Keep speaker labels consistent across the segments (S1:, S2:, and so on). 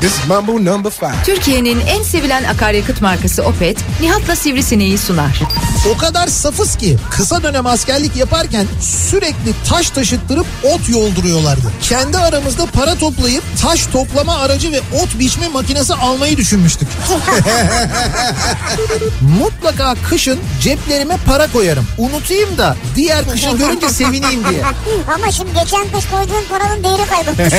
S1: this is Mambo number five.
S2: Türkiye'nin en sevilen akaryakıt markası Opet, Nihat'la Sivrisineği sunar.
S3: O kadar safız ki kısa dönem askerlik yaparken sürekli taş taşıttırıp ot yolduruyorlardı. Kendi aramızda para toplayıp taş toplama aracı ve ot biçme makinesi almayı düşünmüştük. Mutlaka kışın ceplerime para koyarım. Unutayım da diğer kışı görünce şey sevineyim diye.
S4: Ama şimdi geçen kış koyduğun paranın değeri kaybolmuş.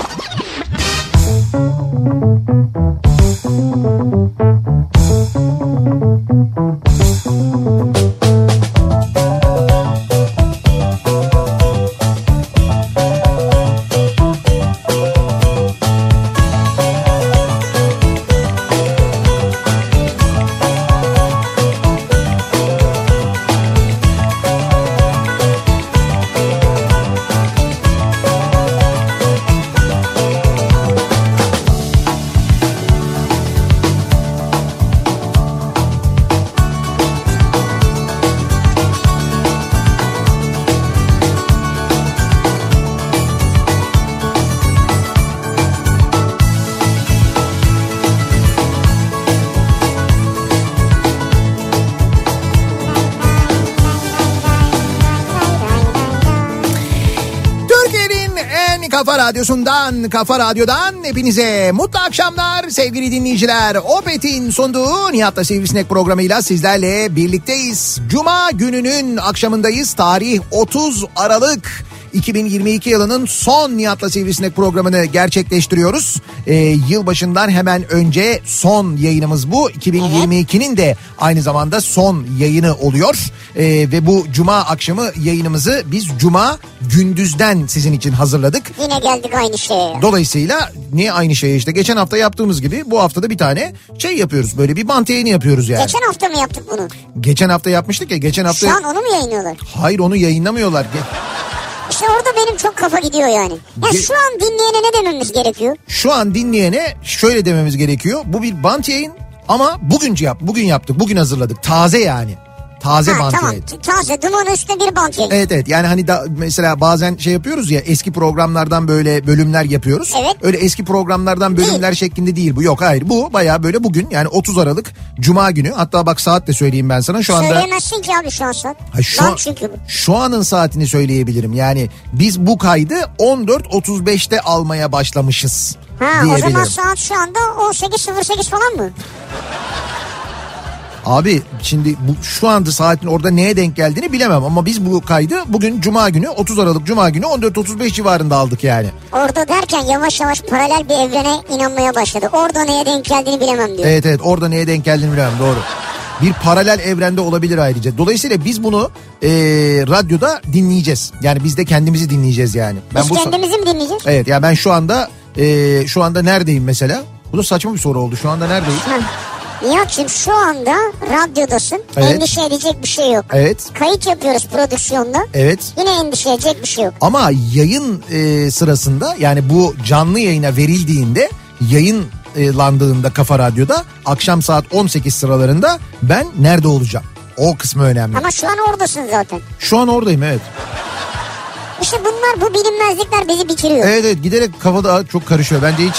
S3: Türkiye'nin en kafa radyosundan, kafa radyodan hepinize mutlu akşamlar sevgili dinleyiciler. Opet'in sunduğu Nihat'la Sivrisinek programıyla sizlerle birlikteyiz. Cuma gününün akşamındayız. Tarih 30 Aralık. 2022 yılının son Nihat'la Sivrisinek programını gerçekleştiriyoruz. Ee, yılbaşından hemen önce son yayınımız bu. 2022'nin de aynı zamanda son yayını oluyor. Ee, ve bu cuma akşamı yayınımızı biz cuma gündüzden sizin için hazırladık.
S4: Yine geldik aynı şeye.
S3: Dolayısıyla niye aynı şeye işte geçen hafta yaptığımız gibi bu haftada bir tane şey yapıyoruz. Böyle bir bant yayını yapıyoruz yani. Geçen,
S4: Geçen hafta mı yaptık bunu?
S3: hafta yapmıştık ya geçen hafta.
S4: Şu an onu mu yayınlıyorlar?
S3: Hayır onu yayınlamıyorlar. Ge-
S4: İşte orada benim çok kafa gidiyor yani. Ya
S3: Ge-
S4: şu an dinleyene ne dememiz gerekiyor?
S3: Şu an dinleyene şöyle dememiz gerekiyor. Bu bir bant yayın ama bugün yap, bugün yaptık. Bugün hazırladık. Taze yani. Taze
S4: Ha,
S3: bant
S4: tamam.
S3: yayın.
S4: Taze dumanın üstüne bir bant yayın.
S3: Evet evet yani hani da mesela bazen şey yapıyoruz ya eski programlardan böyle bölümler yapıyoruz.
S4: Evet.
S3: Öyle eski programlardan bölümler şeklinde değil bu yok hayır bu baya böyle bugün yani 30 Aralık Cuma günü hatta bak saat de söyleyeyim ben sana şu anda.
S4: Söyleyemezsin ki abi şu an sen.
S3: Ha, şu,
S4: Bant
S3: an-
S4: çünkü bu.
S3: şu anın saatini söyleyebilirim yani biz bu kaydı 14.35'te almaya başlamışız
S4: Ha, o
S3: diyebilirim.
S4: zaman saat şu anda 18.08 falan mı?
S3: Abi şimdi bu, şu anda saatin orada neye denk geldiğini bilemem ama biz bu kaydı bugün Cuma günü 30 Aralık Cuma günü 14.35 civarında aldık yani.
S4: Orada derken yavaş yavaş paralel bir evrene inanmaya başladı. Orada neye denk geldiğini bilemem diyor.
S3: Evet evet orada neye denk geldiğini bilemem doğru. Bir paralel evrende olabilir ayrıca. Dolayısıyla biz bunu eee, radyoda dinleyeceğiz. Yani biz de kendimizi dinleyeceğiz yani.
S4: Biz
S3: bu
S4: kendimizi mi dinleyeceğiz?
S3: Evet ya ben şu anda eee, şu anda neredeyim mesela? Bu da saçma bir soru oldu. Şu anda neredeyim?
S4: Nihat'cığım şu anda radyodasın.
S3: Evet.
S4: Endişe edecek bir şey yok.
S3: Evet.
S4: Kayıt yapıyoruz prodüksiyonda.
S3: Evet.
S4: Yine endişe edecek bir şey yok.
S3: Ama yayın e, sırasında yani bu canlı yayına verildiğinde yayınlandığında Kafa Radyo'da akşam saat 18 sıralarında ben nerede olacağım? O kısmı önemli.
S4: Ama şu an oradasın zaten.
S3: Şu an oradayım evet.
S4: İşte bunlar bu bilinmezlikler bizi bitiriyor.
S3: Evet evet giderek kafa daha çok karışıyor. Bence hiç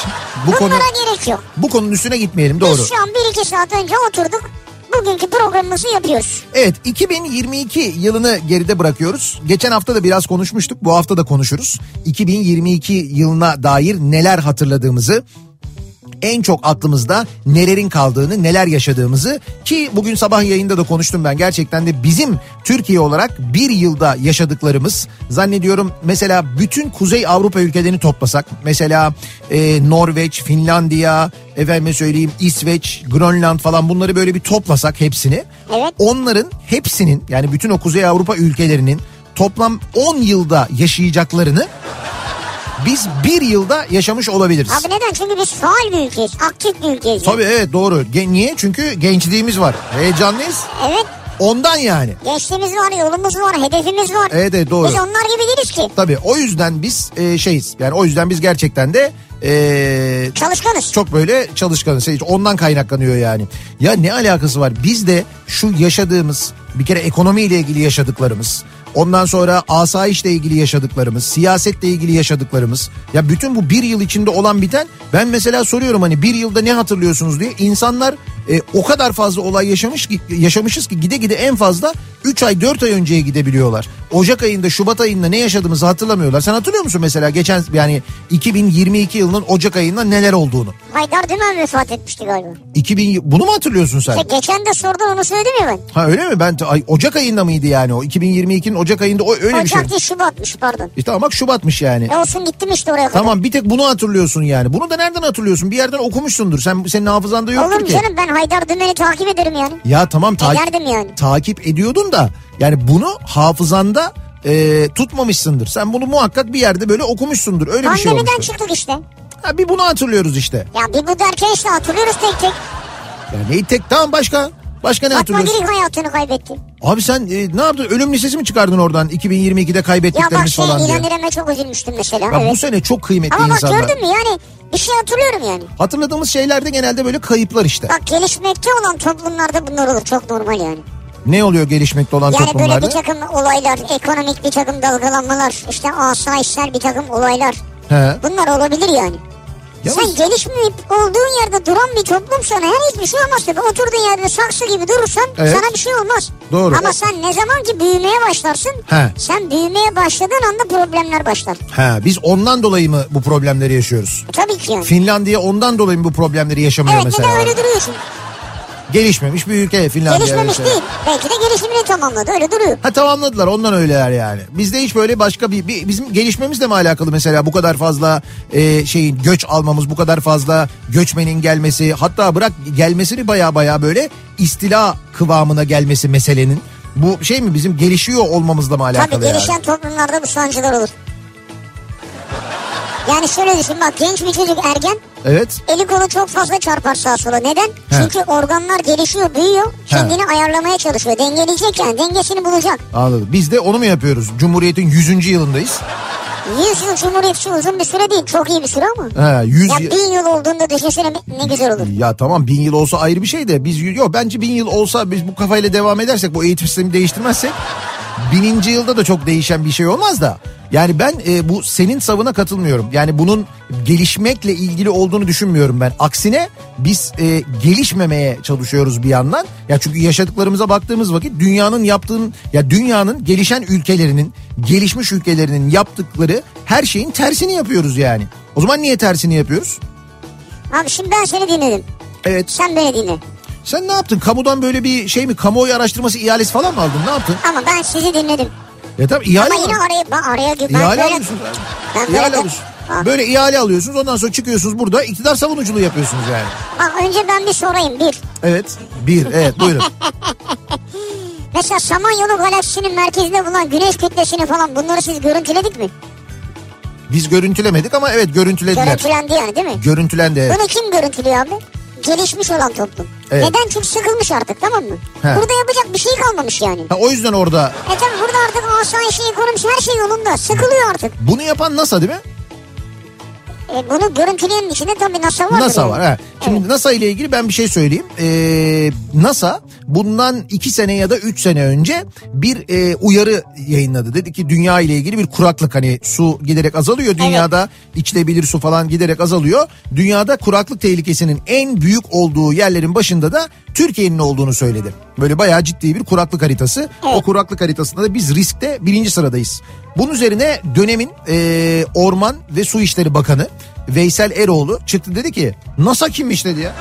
S3: bu konu
S4: Bunlara gerek yok.
S3: bu konunun üstüne gitmeyelim doğru.
S4: Biz şu an 1-2 saat önce oturduk. Bugünkü programımızı yapıyoruz.
S3: Evet 2022 yılını geride bırakıyoruz. Geçen hafta da biraz konuşmuştuk. Bu hafta da konuşuruz. 2022 yılına dair neler hatırladığımızı en çok aklımızda nelerin kaldığını, neler yaşadığımızı ki bugün sabah yayında da konuştum ben. Gerçekten de bizim Türkiye olarak bir yılda yaşadıklarımız zannediyorum mesela bütün Kuzey Avrupa ülkelerini toplasak mesela e, Norveç, Finlandiya, efendime söyleyeyim İsveç, Grönland falan bunları böyle bir toplasak hepsini.
S4: Evet.
S3: Onların hepsinin yani bütün o Kuzey Avrupa ülkelerinin toplam 10 yılda yaşayacaklarını biz bir yılda yaşamış olabiliriz.
S4: Abi neden? Çünkü biz faal bir ülkeyiz. Aktif bir ülkeyiz.
S3: Tabii evet doğru. Gen- niye? Çünkü gençliğimiz var. Heyecanlıyız.
S4: Evet.
S3: Ondan yani.
S4: Gençliğimiz var, yolumuz var, hedefimiz var.
S3: Evet, evet, doğru.
S4: Biz onlar gibi değiliz ki.
S3: Tabii o yüzden biz e, şeyiz. Yani o yüzden biz gerçekten de e,
S4: Çalışkanız.
S3: çok böyle çalışkanız. Şey, Ondan kaynaklanıyor yani. Ya ne alakası var? Biz de şu yaşadığımız Bir kere ekonomiyle ilgili yaşadıklarımız. Ondan sonra asayişle ilgili yaşadıklarımız, siyasetle ilgili yaşadıklarımız. Ya bütün bu bir yıl içinde olan biten ben mesela soruyorum hani bir yılda ne hatırlıyorsunuz diye. insanlar e, o kadar fazla olay yaşamış ki, yaşamışız ki gide gide en fazla 3 ay 4 ay önceye gidebiliyorlar. Ocak ayında Şubat ayında ne yaşadığımızı hatırlamıyorlar. Sen hatırlıyor musun mesela geçen yani 2022 yılının Ocak ayında neler olduğunu?
S4: Haydar Dümen vefat etmişti galiba.
S3: 2000 bunu mu hatırlıyorsun sen?
S4: İşte geçen de sordun onu söyledim ya ben.
S3: Ha öyle mi? Ben ay, Ocak ayında mıydı yani o? 2022'nin Ocak ayında o öyle bir şey.
S4: Ocak değil Şubat'mış pardon.
S3: E tamam bak Şubat'mış yani.
S4: E olsun gittim işte oraya kadar.
S3: Tamam bir tek bunu hatırlıyorsun yani. Bunu da nereden hatırlıyorsun? Bir yerden okumuşsundur. Sen senin hafızanda yoktur
S4: Oğlum
S3: ki.
S4: canım ben Haydar Dümen'i takip ederim yani.
S3: Ya tamam ta-
S4: Ederdim yani.
S3: takip ediyordun da yani bunu hafızanda e, tutmamışsındır. Sen bunu muhakkak bir yerde böyle okumuşsundur. Öyle bir şey
S4: Pandemiden
S3: olmuştur.
S4: çıktık işte.
S3: Ha, bir bunu hatırlıyoruz işte.
S4: Ya bir bu derken işte hatırlıyoruz tek tek.
S3: Ya neyi tek tamam başka? Başka ne
S4: Fatma
S3: hatırlıyorsun?
S4: Girik hayatını kaybetti.
S3: Abi sen e, ne yaptın? Ölüm listesi mi çıkardın oradan 2022'de
S4: Ya bak
S3: kaybettiklerimiz
S4: şey
S3: falan diye?
S4: İlhan İrem'e çok üzülmüştüm mesela.
S3: Ya bu
S4: evet.
S3: sene çok kıymetli
S4: Ama bak
S3: insanlar.
S4: gördün mü yani bir şey hatırlıyorum yani.
S3: Hatırladığımız şeylerde genelde böyle kayıplar işte.
S4: Bak gelişmekte olan toplumlarda bunlar olur çok normal yani.
S3: Ne oluyor gelişmekte olan
S4: Yani böyle
S3: toplumlarda?
S4: bir takım olaylar, ekonomik bir takım dalgalanmalar, işte asayişler bir takım olaylar.
S3: He.
S4: Bunlar olabilir yani.
S3: Yalnız-
S4: Sen gelişmeyip olduğun yerde duran bir toplumsan eğer hiçbir şey olmaz tabii. Oturduğun yerde saksı gibi durursan
S3: Evet.
S4: sana bir şey olmaz.
S3: Doğru.
S4: Ama sen ne zaman ki büyümeye başlarsın
S3: He.
S4: sen büyümeye başladığın anda problemler başlar.
S3: He, biz ondan dolayı mı bu problemleri yaşıyoruz?
S4: E, Tabii ki yani.
S3: Finlandiya ondan dolayı mı bu problemleri yaşamıyor
S4: Evet
S3: mesela?
S4: neden öyle duruyor şimdi?
S3: Gelişmemiş bir şey. ülke Finlandiya.
S4: Gelişmemiş
S3: mesela.
S4: değil. Belki de gelişimini tamamladı öyle duruyor.
S3: Ha tamamladılar ondan öyleler yani. Bizde hiç böyle başka bir, bir- bizim gelişmemizle mi alakalı mesela bu kadar fazla e, şeyin göç almamız bu kadar fazla göçmenin gelmesi hatta bırak gelmesini baya baya böyle istila kıvamına gelmesi meselenin. Bu şey mi bizim gelişiyor olmamızla mı alakalı
S4: Tabii
S3: yani?
S4: gelişen toplumlarda bu sancılar olur. Yani şöyle düşün bak genç bir çocuk ergen
S3: Evet.
S4: eli kolu çok fazla çarpar sağa sola. Neden? Çünkü organlar gelişiyor, büyüyor. Kendini ayarlamaya çalışıyor. Dengeleyecek yani. Dengesini bulacak.
S3: Anladım. Biz de onu mu yapıyoruz? Cumhuriyet'in 100. yılındayız.
S4: 100 yıl cumhuriyetçi uzun bir süre değil. Çok iyi bir süre ama.
S3: He, 100
S4: Ya
S3: yı-
S4: bin yıl olduğunda düşünsene ne- ne güzel olur.
S3: Ya tamam bin yıl olsa ayrı bir şey de biz yok bence bin yıl olsa biz bu kafayla devam edersek bu eğitim sistemi değiştirmezsek bininci yılda da çok değişen bir şey olmaz da. Yani ben e, bu senin savına katılmıyorum. Yani bunun gelişmekle ilgili olduğunu düşünmüyorum ben. Aksine biz e, gelişmemeye çalışıyoruz bir yandan. Ya çünkü yaşadıklarımıza baktığımız vakit dünyanın yaptığın ya dünyanın gelişen ülkelerinin, gelişmiş ülkelerinin yaptıkları her şeyin tersini yapıyoruz yani. O zaman niye tersini yapıyoruz?
S4: Abi şimdi ben seni dinledim.
S3: Evet.
S4: Sen beni dinle.
S3: Sen ne yaptın? Kamudan böyle bir şey mi? Kamuoyu araştırması ihalesi falan mı aldın? Ne yaptın?
S4: Ama ben sizi dinledim.
S3: Ya tabii ihale
S4: Ama
S3: mi?
S4: yine araya, ben araya ben
S3: İhale
S4: böyle-
S3: alıyorsunuz.
S4: Ben böyle-
S3: ihale alıyorsunuz.
S4: Bak,
S3: Böyle ihale alıyorsunuz. Ondan sonra çıkıyorsunuz burada iktidar savunuculuğu yapıyorsunuz yani.
S4: bak önce ben bir sorayım. Bir.
S3: Evet. Bir. Evet buyurun.
S4: Mesela Samanyolu galaksinin merkezinde bulunan güneş kütlesini falan bunları siz görüntüledik mi?
S3: Biz görüntülemedik ama evet görüntülediler.
S4: Görüntülendi yani değil mi?
S3: Görüntülendi. evet.
S4: Bunu kim görüntülüyor abi? Gelişmiş olan toplum.
S3: Evet.
S4: Neden? Çünkü sıkılmış artık tamam mı?
S3: He.
S4: Burada yapacak bir şey kalmamış yani.
S3: Ha, o yüzden orada
S4: E tabi burada artık asayişi, ekonomisi her şey yolunda. Sıkılıyor artık.
S3: bunu yapan NASA değil mi?
S4: E, bunu görüntüleyenin içinde tabii NASA var.
S3: NASA var. Ha. Şimdi NASA ile ilgili ben bir şey söyleyeyim. Ee, NASA bundan 2 sene ya da 3 sene önce bir e, uyarı yayınladı. Dedi ki dünya ile ilgili bir kuraklık hani su giderek azalıyor. Dünyada içilebilir su falan giderek azalıyor. Dünyada kuraklık tehlikesinin en büyük olduğu yerlerin başında da Türkiye'nin olduğunu söyledi. Böyle bayağı ciddi bir kuraklık haritası. O kuraklık haritasında da biz riskte birinci sıradayız. Bunun üzerine dönemin e, Orman ve Su İşleri Bakanı Veysel Eroğlu çıktı dedi ki NASA kimmiş dedi ya.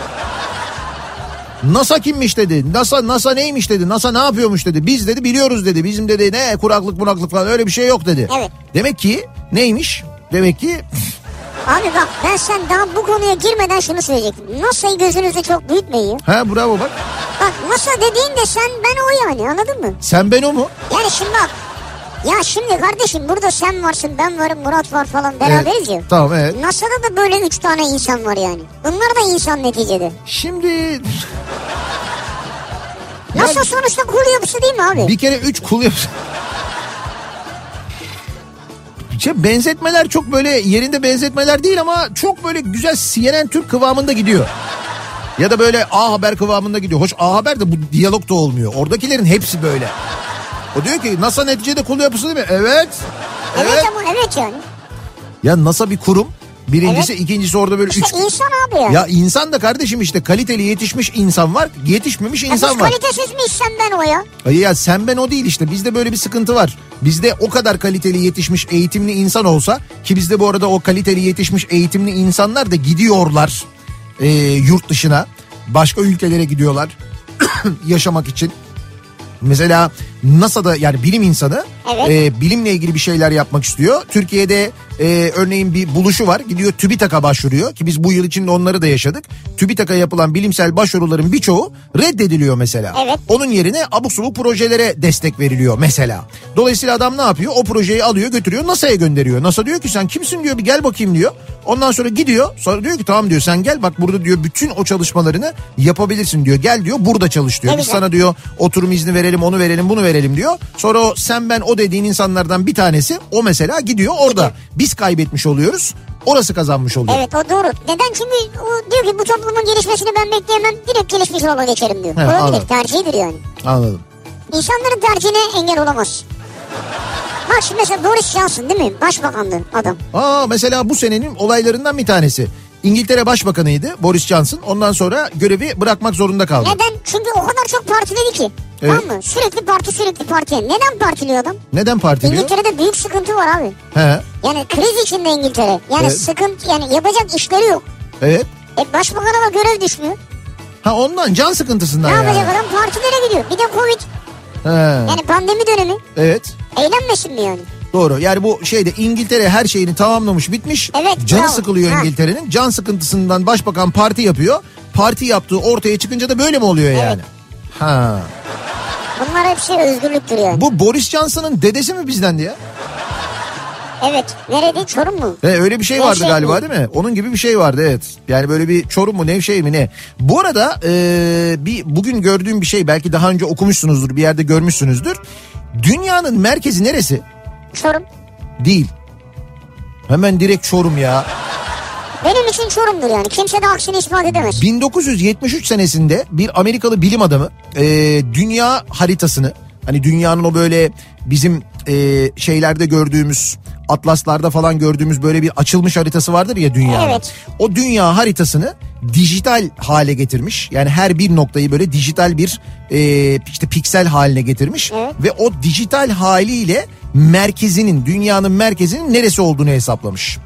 S3: NASA kimmiş dedi. NASA NASA neymiş dedi. NASA ne yapıyormuş dedi. Biz dedi biliyoruz dedi. Bizim dedi ne kuraklık muraklık falan öyle bir şey yok dedi.
S4: Evet.
S3: Demek ki neymiş? Demek ki
S4: Abi bak ben sen daha bu konuya girmeden şunu söyleyecektim. NASA'yı gözünüzde çok büyütmeyin.
S3: ha bravo bak.
S4: Bak NASA dediğin de sen ben o yani anladın mı?
S3: Sen ben o mu?
S4: Yani şimdi bak. Ya şimdi kardeşim burada sen varsın ben varım Murat var falan
S3: Evet.
S4: beraberiz ya.
S3: Tamam evet.
S4: NASA'da da böyle üç tane insan var yani. Bunlar da insan neticede.
S3: Şimdi
S4: NASA sonuçta kul yapısı değil mi abi?
S3: bir kere üç kul yap. Şey, benzetmeler çok böyle yerinde benzetmeler değil ama çok böyle güzel CNN Türk kıvamında gidiyor. Ya da böyle A Haber kıvamında gidiyor. Hoş A Haber de bu diyalog da olmuyor. Oradakilerin hepsi böyle. O diyor ki NASA neticede kulu yapısı değil mi? Evet.
S4: Evet, ama evet yani.
S3: Ya NASA bir kurum. Birincisi ikincisi orada böyle
S4: İşte
S3: üç...
S4: insan abi ya.
S3: Ya insan da kardeşim işte kaliteli yetişmiş insan var, yetişmemiş
S4: Ya
S3: insan
S4: biz
S3: var.
S4: kalitesiz mi işsem ben o ya?
S3: Ay ya sen ben o değil işte bizde böyle bir sıkıntı var. Bizde o kadar kaliteli yetişmiş eğitimli insan olsa ki bizde bu arada o kaliteli yetişmiş eğitimli insanlar da gidiyorlar e, yurt dışına başka ülkelere gidiyorlar yaşamak için. Mesela NASA'da yani bilim insanı
S4: Evet.
S3: e, bilimle ilgili bir şeyler yapmak istiyor. Türkiye'de e, örneğin bir buluşu var gidiyor TÜBİTAK'a başvuruyor ki biz bu yıl içinde onları da yaşadık. TÜBİTAK'a yapılan bilimsel başvuruların birçoğu reddediliyor mesela.
S4: Evet.
S3: Onun yerine abuk subuk projelere destek veriliyor mesela. Dolayısıyla adam ne yapıyor? O projeyi alıyor götürüyor NASA'ya gönderiyor. NASA diyor ki sen kimsin diyor bir gel bakayım diyor. Ondan sonra gidiyor sonra diyor ki tamam diyor sen gel bak burada diyor bütün o çalışmalarını yapabilirsin diyor. Gel diyor burada çalış diyor.
S4: Ne
S3: Biz
S4: güzel.
S3: sana diyor oturum izni verelim onu verelim bunu verelim diyor. Sonra o sen ben o dediğin insanlardan bir tanesi o mesela gidiyor orada. Biz kaybetmiş oluyoruz orası kazanmış oluyor.
S4: Evet o doğru. Neden? Çünkü o diyor ki bu toplumun gelişmesini ben bekleyemem. Direkt gelişmiş olma geçerim diyor.
S3: He,
S4: Olabilir.
S3: anladım.
S4: Tercihidir yani.
S3: Anladım.
S4: İnsanların tercihine engel olamaz. Bak şimdi mesela Boris Johnson değil mi? Başbakandı adam.
S3: Aa mesela bu senenin olaylarından bir tanesi. İngiltere Başbakanıydı Boris Johnson. Ondan sonra görevi bırakmak zorunda kaldı.
S4: Neden? Çünkü o kadar çok partiledi ki.
S3: Evet.
S4: Tamam mı? Sürekli parti sürekli parti. Neden partiliyor adam?
S3: Neden partiliyor?
S4: İngiltere'de büyük sıkıntı var abi.
S3: He.
S4: Yani kriz içinde İngiltere. Yani
S3: Evet.
S4: sıkıntı yani yapacak işleri yok.
S3: Evet.
S4: E başbakana da görev düşmüyor.
S3: Ha ondan can sıkıntısından
S4: Ne
S3: yani.
S4: yapacak adam partilere gidiyor. Bir de Covid.
S3: He.
S4: Yani pandemi dönemi.
S3: Evet.
S4: Eğlenmesin mi yani?
S3: Doğru. Yani bu şeyde İngiltere her şeyini tamamlamış bitmiş.
S4: Evet,
S3: Canı
S4: bravo.
S3: sıkılıyor
S4: Ha.
S3: İngiltere'nin. Can sıkıntısından başbakan parti yapıyor. Parti yaptığı ortaya çıkınca da böyle mi oluyor yani? Ha.
S4: Bunlar hepsi özgürlüktür yani.
S3: Bu Boris Johnson'ın dedesi mi bizdendi ya?
S4: Evet. Nerede? Çorum mu?
S3: He, öyle bir şey
S4: Nevşehir
S3: vardı galiba
S4: mi?
S3: değil mi? Onun gibi bir şey vardı evet. Yani böyle bir Çorum mu Nevşehir mi ne? Bu arada e, bir bugün gördüğüm bir şey belki daha önce okumuşsunuzdur bir yerde görmüşsünüzdür. Dünyanın merkezi neresi? E-
S4: Çorum.
S3: Değil. Hemen direkt Çorum ya.
S4: Benim için Çorum'dur yani. Kimse de aksini ispat edemez.
S3: 1973 senesinde bir Amerikalı bilim adamı e, dünya haritasını hani dünyanın o böyle bizim e, şeylerde gördüğümüz atlaslarda falan gördüğümüz böyle bir açılmış haritası vardır ya dünyanın.
S4: Evet.
S3: O dünya haritasını dijital hale getirmiş. Yani her bir noktayı böyle dijital bir e, işte piksel haline getirmiş
S4: Evet.
S3: ve o dijital haliyle merkezinin dünyanın merkezinin neresi olduğunu hesaplamış.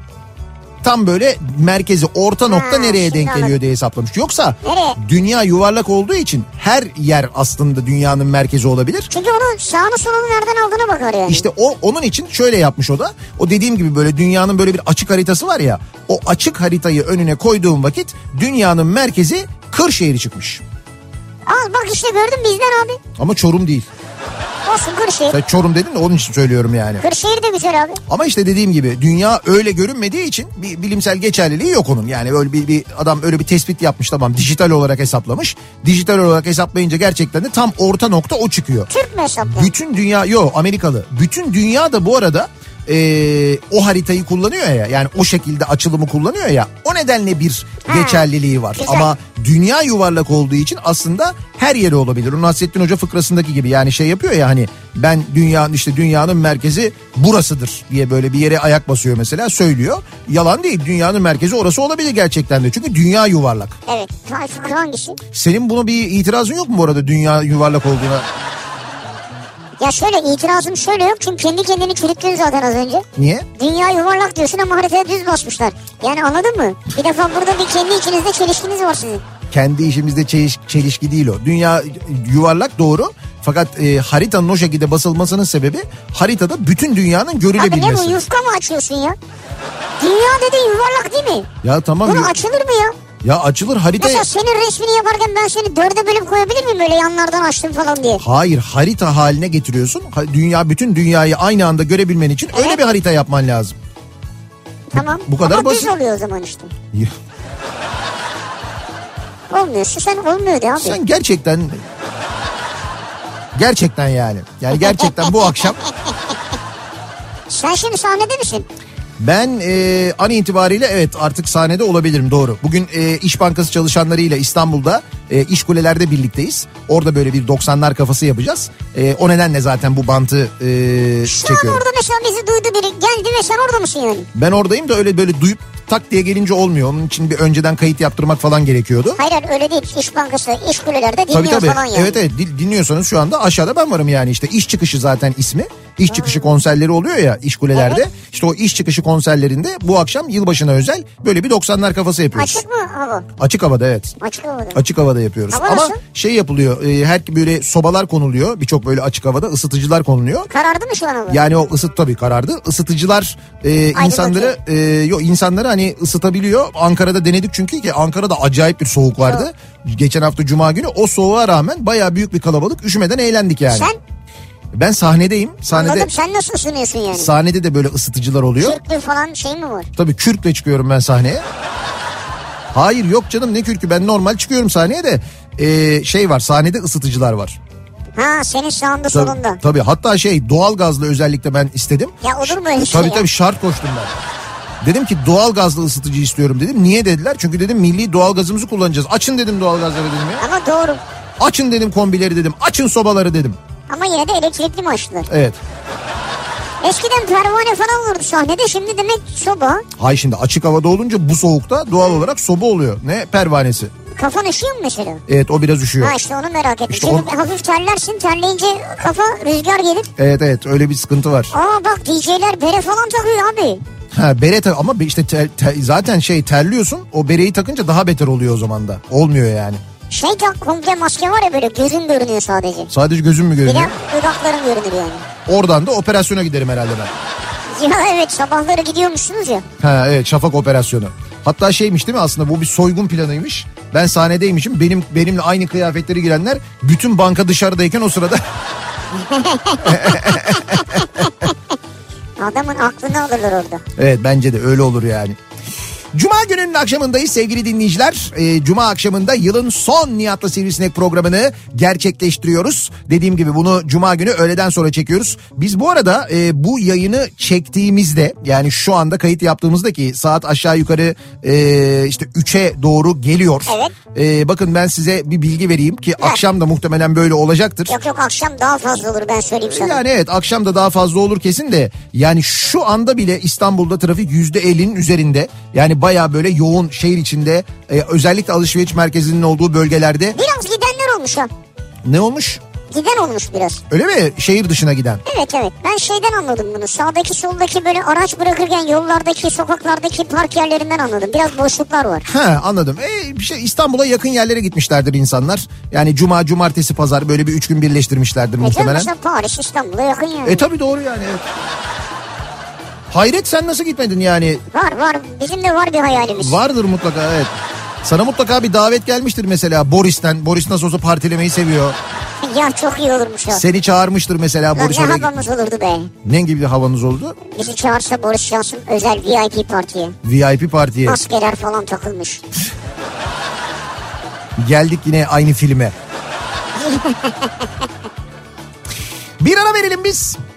S3: Tam böyle merkezi orta nokta
S4: Ha,
S3: nereye
S4: şimdi
S3: denk
S4: anladım.
S3: geliyor diye hesaplamış. Yoksa
S4: Nereye?
S3: dünya yuvarlak olduğu için her yer aslında dünyanın merkezi olabilir.
S4: Çünkü onun sağını solunu nereden aldığına bakar yani.
S3: İşte o onun için şöyle yapmış o da. O dediğim gibi böyle dünyanın böyle bir açık haritası var ya. O açık haritayı önüne koyduğum vakit dünyanın merkezi Kırşehir çıkmış.
S4: Al bak işte gördün bizden abi.
S3: Ama Çorum değil.
S4: Olsun Kırşehir.
S3: Sen Çorum dedin de onun için söylüyorum yani.
S4: Kırşehir de güzel abi.
S3: Ama işte dediğim gibi dünya öyle görünmediği için bir bilimsel geçerliliği yok onun. Yani öyle bir, bir adam öyle bir tespit yapmış tamam dijital olarak hesaplamış. Dijital olarak hesaplayınca gerçekten de tam orta nokta o çıkıyor.
S4: Türk mü hesaplı?
S3: Bütün dünya yo Amerikalı. Bütün dünya da bu arada eee, o haritayı kullanıyor ya yani o şekilde açılımı kullanıyor ya o nedenle bir
S4: Ha,
S3: geçerliliği var.
S4: güzel.
S3: Ama dünya yuvarlak olduğu için aslında her yeri olabilir. O Nasrettin Hoca fıkrasındaki gibi yani şey yapıyor ya hani ben dünyanın işte dünyanın merkezi burasıdır diye böyle bir yere ayak basıyor mesela söylüyor. Yalan değil dünyanın merkezi orası olabilir gerçekten de çünkü dünya yuvarlak.
S4: Evet. Tayfun hangisi?
S3: Senin buna bir itirazın yok mu bu arada dünya yuvarlak olduğuna?
S4: Ya şöyle itirazım şöyle yok. Çünkü kendi kendini çürüttün zaten az önce.
S3: Niye?
S4: Dünya yuvarlak diyorsun ama haritaya düz basmışlar. Yani anladın mı? Bir defa burada bir kendi içinizde çelişkiniz var sizin.
S3: kendi işimizde çeliş- çelişki değil o. Dünya yuvarlak doğru fakat e, haritanın o şekilde basılmasının sebebi haritada bütün dünyanın
S4: Abi ne bu
S3: görülebilmesi.
S4: yufka mı açıyorsun ya? Dünya dedin yuvarlak değil mi?
S3: ya tamam
S4: Bunu
S3: yu-
S4: açılır mı ya?
S3: ya açılır harita.
S4: Mesela senin resmini yaparken ben seni dörde bölüp koyabilir miyim böyle yanlardan açtım falan diye?
S3: Hayır harita haline getiriyorsun. Ha- Dünya bütün dünyayı aynı anda görebilmen için öyle
S4: Evet.
S3: bir harita yapman lazım.
S4: Tamam.
S3: bu kadar
S4: Ama
S3: basit.
S4: düz oluyor o zaman işte. Olmuyor. Sen olmuyor de abi.
S3: Sen gerçekten gerçekten yani. Yani gerçekten bu akşam
S4: Sen şimdi sahnede misin?
S3: Ben e, an itibariyle evet artık sahnede olabilirim doğru. Bugün e, İş Bankası çalışanlarıyla İstanbul'da e, İş Kuleler'de birlikteyiz. Orada böyle bir 90'lar kafası yapacağız. E, o nedenle zaten bu bantı e,
S4: Şu an
S3: çekiyorum.
S4: orada mesela bizi duydu biri geldi ve sen orada mısın yani?
S3: Ben oradayım da öyle böyle duyup tak diye gelince olmuyor. Onun için bir önceden kayıt yaptırmak falan gerekiyordu.
S4: Hayır hayır öyle değil. İş Bankası, iş kulelerde dinliyor
S3: Tabii tabii.
S4: falan yani.
S3: Evet evet Dil- dinliyorsanız şu anda aşağıda ben varım yani işte iş çıkışı zaten ismi. İş çıkışı konserleri oluyor ya iş kulelerde. İşte o iş çıkışı konserlerinde bu akşam yılbaşına özel böyle bir 90'lar kafası yapıyoruz.
S4: Açık mı hava?
S3: Açık havada evet.
S4: Açık havada.
S3: Açık havada yapıyoruz.
S4: Hava
S3: Ama
S4: nasıl?
S3: şey yapılıyor. e, her böyle sobalar konuluyor. Birçok böyle açık havada ısıtıcılar konuluyor.
S4: Karardı mı şu an hava?
S3: Yani o ısıt tabii karardı. Isıtıcılar e,
S4: Ayrı
S3: insanları e, yo insanları hani ısıtabiliyor. Ankara'da denedik çünkü ki Ankara'da acayip bir soğuk vardı. Geçen hafta cuma günü o soğuğa rağmen bayağı büyük bir kalabalık üşümeden eğlendik yani.
S4: Sen
S3: Ben sahnedeyim. Sahnede
S4: anladım sen nasıl ısınıyorsun yani?
S3: sahnede de böyle ısıtıcılar oluyor.
S4: Kürklü falan şey mi var?
S3: Tabii kürkle çıkıyorum ben sahneye. Hayır yok canım ne kürkü ben normal çıkıyorum sahneye de e, şey var sahnede ısıtıcılar var.
S4: Ha senin sağında
S3: Tabii,
S4: solunda.
S3: tabii hatta şey doğal gazlı özellikle ben istedim.
S4: Ya olur mu öyle şey
S3: Tabii
S4: ya?
S3: tabii şart koştum ben. Dedim ki doğal gazlı ısıtıcı istiyorum dedim. Niye dediler? Çünkü dedim milli doğal gazımızı kullanacağız. Açın dedim doğal gazları dedim ya.
S4: Ama doğru.
S3: Açın dedim kombileri dedim. Açın sobaları dedim.
S4: Ama yine de elektrikli mi açtılar?
S3: Evet.
S4: Eskiden pervane falan olurdu sahnede şimdi demek soba.
S3: Hay şimdi açık havada olunca bu soğukta doğal olarak soba oluyor. Ne pervanesi.
S4: Kafan ışıyor mu mesela?
S3: Evet o biraz üşüyor.
S4: Ha işte onu merak ettim.
S3: İşte
S4: Çünkü
S3: onu-
S4: hafif terlersin terleyince kafa rüzgar gelir.
S3: Evet evet öyle bir sıkıntı var.
S4: Aa bak DJ'ler bere falan takıyor abi.
S3: Ha bere ta- ama işte tel- tel- zaten şey terliyorsun. O bereyi takınca daha beter oluyor o zaman da. Olmuyor yani.
S4: Şey tak komple maske var ya böyle gözün görünüyor sadece.
S3: Sadece gözüm mü
S4: Bir
S3: görünüyor?
S4: de dudakların görünür yani.
S3: Oradan da operasyona giderim herhalde ben.
S4: Ya evet sabahları gidiyormuşsunuz ya.
S3: Ha evet şafak operasyonu. Hatta şeymiş değil mi aslında bu bir soygun planıymış. Ben sahnedeymişim. Benim benimle aynı kıyafetleri girenler bütün banka dışarıdayken o sırada
S4: Adamın aklını alırlar orada.
S3: Evet bence de öyle olur yani. Cuma gününün akşamındayız sevgili dinleyiciler. Ee, Cuma akşamında yılın son Nihat'la Sivrisinek programını gerçekleştiriyoruz. Dediğim gibi bunu Cuma günü öğleden sonra çekiyoruz. Biz bu arada e, bu yayını çektiğimizde yani şu anda kayıt yaptığımızda ki saat aşağı yukarı e, işte 3'e doğru geliyor.
S4: Evet.
S3: E, bakın ben size bir bilgi vereyim ki akşam da muhtemelen böyle olacaktır.
S4: Yok yok akşam daha fazla olur ben söyleyeyim sana.
S3: Yani evet akşam da daha fazla olur kesin de yani şu anda bile İstanbul'da trafik yüzde %50'nin üzerinde. Yani baya böyle yoğun şehir içinde e, özellikle alışveriş merkezinin olduğu bölgelerde
S4: Biraz gidenler olmuş ha.
S3: ne olmuş?
S4: Giden olmuş biraz.
S3: Öyle mi şehir dışına giden?
S4: Evet evet ben şeyden anladım bunu. Sağdaki soldaki böyle araç bırakırken yollardaki sokaklardaki park yerlerinden anladım. Biraz boşluklar var.
S3: Ha anladım. E, bir şey İstanbul'a yakın yerlere gitmişlerdir insanlar. Yani cuma, cumartesi, pazar böyle bir üç gün birleştirmişlerdir
S4: E tabii
S3: muhtemelen.
S4: mesela Paris İstanbul'a yakın yani.
S3: E tabi doğru yani. evet. Hayret sen nasıl gitmedin yani?
S4: var var bizim de var bir hayalimiz.
S3: Vardır mutlaka evet. Sana mutlaka bir davet gelmiştir mesela Boris'ten. Boris nasıl olsa partilemeyi seviyor.
S4: ya çok iyi olurmuş o.
S3: Seni çağırmıştır mesela
S4: Lan
S3: Boris
S4: ne
S3: oraya.
S4: havamız olurdu be.
S3: Ne gibi bir havanız oldu?
S4: Bizi çağırsa Boris Johnson özel VIP partiye.
S3: VIP partiye.
S4: Maskeler falan takılmış.
S3: Geldik yine aynı filme. bir ara verelim biz.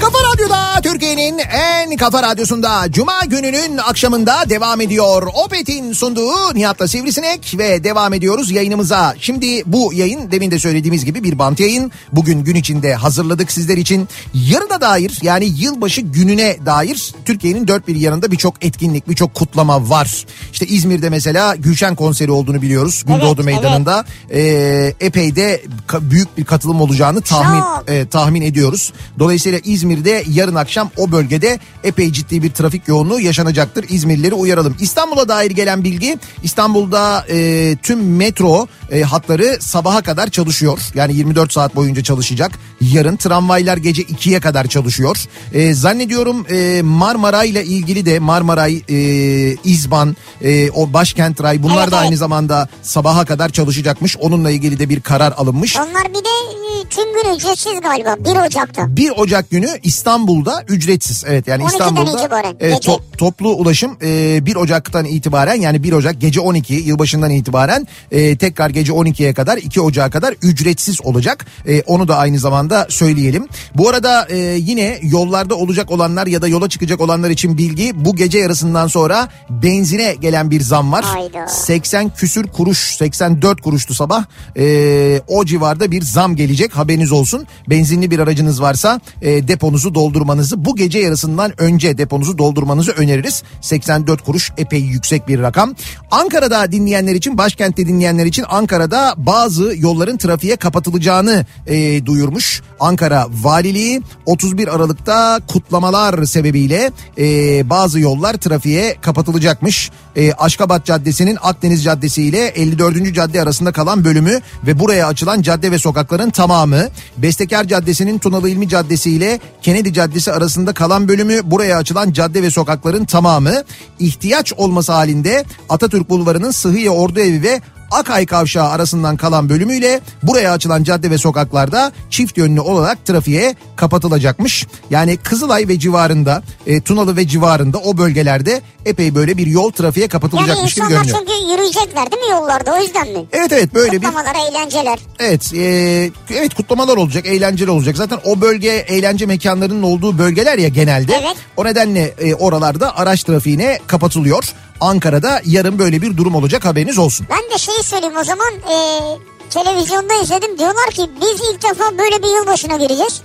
S3: Kafa Radyo'da Türkiye'nin en kafa radyosunda Cuma gününün akşamında devam ediyor. Opet'in sunduğu Nihat'la Sivrisinek ve devam ediyoruz yayınımıza. Şimdi bu yayın demin de söylediğimiz gibi bir bant yayın. Bugün gün içinde hazırladık sizler için. Yarına dair yani yılbaşı gününe dair Türkiye'nin dört bir yanında birçok etkinlik, birçok kutlama var. İşte İzmir'de mesela Gülşen konseri olduğunu biliyoruz. Gündoğdu
S4: evet.
S3: Meydanı'nda Ee, epey de ka- büyük bir katılım olacağını tahmin
S4: Çok.
S3: e, tahmin ediyoruz. Dolayısıyla İzmir'de yarın akşam o bölgede epey ciddi bir trafik yoğunluğu yaşanacaktır. İzmirlileri uyaralım. İstanbul'a dair gelen bilgi İstanbul'da e, tüm metro e, hatları sabaha kadar çalışıyor. Yani 24 saat boyunca çalışacak. Yarın tramvaylar gece 2'ye kadar çalışıyor. E, zannediyorum e, Marmara ile ilgili de Marmaray, e, İzban, e, o başkent ray bunlar
S4: Evet,
S3: da
S4: evet.
S3: aynı zamanda sabaha kadar çalışacakmış. Onunla ilgili de bir karar alınmış.
S4: Onlar bir de e, tüm gün ücretsiz galiba 1 Ocak'ta.
S3: 1 Ocak günü İstanbul'da ücretsiz. Evet yani
S4: 12'den
S3: İstanbul'da
S4: itibaren,
S3: evet,
S4: gece.
S3: to- toplu ulaşım e, 1 Ocak'tan itibaren yani 1 Ocak gece 12 yılbaşından itibaren e, tekrar gece 12'ye kadar 2 Ocak'a kadar ücretsiz olacak. E, onu da aynı zamanda söyleyelim. Bu arada e, yine yollarda olacak olanlar ya da yola çıkacak olanlar için bilgi bu gece yarısından sonra benzine gelen bir zam var.
S4: Hayda.
S3: 80 küsür kuruş 84 kuruştu sabah Ee, o civarda bir zam gelecek haberiniz olsun benzinli bir aracınız varsa e, deponuzu doldurmanızı bu gece yarısından önce deponuzu doldurmanızı öneririz 84 kuruş epey yüksek bir rakam Ankara'da dinleyenler için başkentte dinleyenler için Ankara'da bazı yolların trafiğe kapatılacağını e, duyurmuş Ankara Valiliği 31 Aralık'ta kutlamalar sebebiyle e, bazı yollar trafiğe kapatılacakmış e, Aşkabat Caddesi'nin Akdeniz Caddesi ile 54. Cadde arasında kalan bölümü ve buraya açılan cadde ve sokakların tamamı, Bestekar Caddesi'nin Tunalı İlmi Caddesi ile Kennedy Caddesi arasında kalan bölümü, buraya açılan cadde ve sokakların tamamı, ihtiyaç olması halinde Atatürk Bulvarı'nın Sıhhiye Ordu Evi ve Akay Kavşağı arasından kalan bölümüyle buraya açılan cadde ve sokaklarda çift yönlü olarak trafiğe kapatılacakmış. Yani Kızılay ve civarında, e, Tunalı ve civarında o bölgelerde epey böyle bir yol trafiğe
S4: Yani
S3: kapatılacakmış gibi
S4: insanlar
S3: görünüyor.
S4: çünkü yürüyecekler değil mi yollarda o yüzden mi?
S3: Evet evet böyle bir
S4: Kutlamalar, eğlenceler.
S3: evet e, evet kutlamalar olacak eğlenceli olacak zaten o bölge eğlence mekanlarının olduğu bölgeler ya genelde
S4: Evet.
S3: o nedenle e, oralarda araç trafiğine kapatılıyor Ankara'da yarın böyle bir durum olacak haberiniz olsun.
S4: Ben de şeyi söyleyeyim o zaman e, televizyonda izledim diyorlar ki biz ilk defa böyle bir yılbaşına gireceğiz.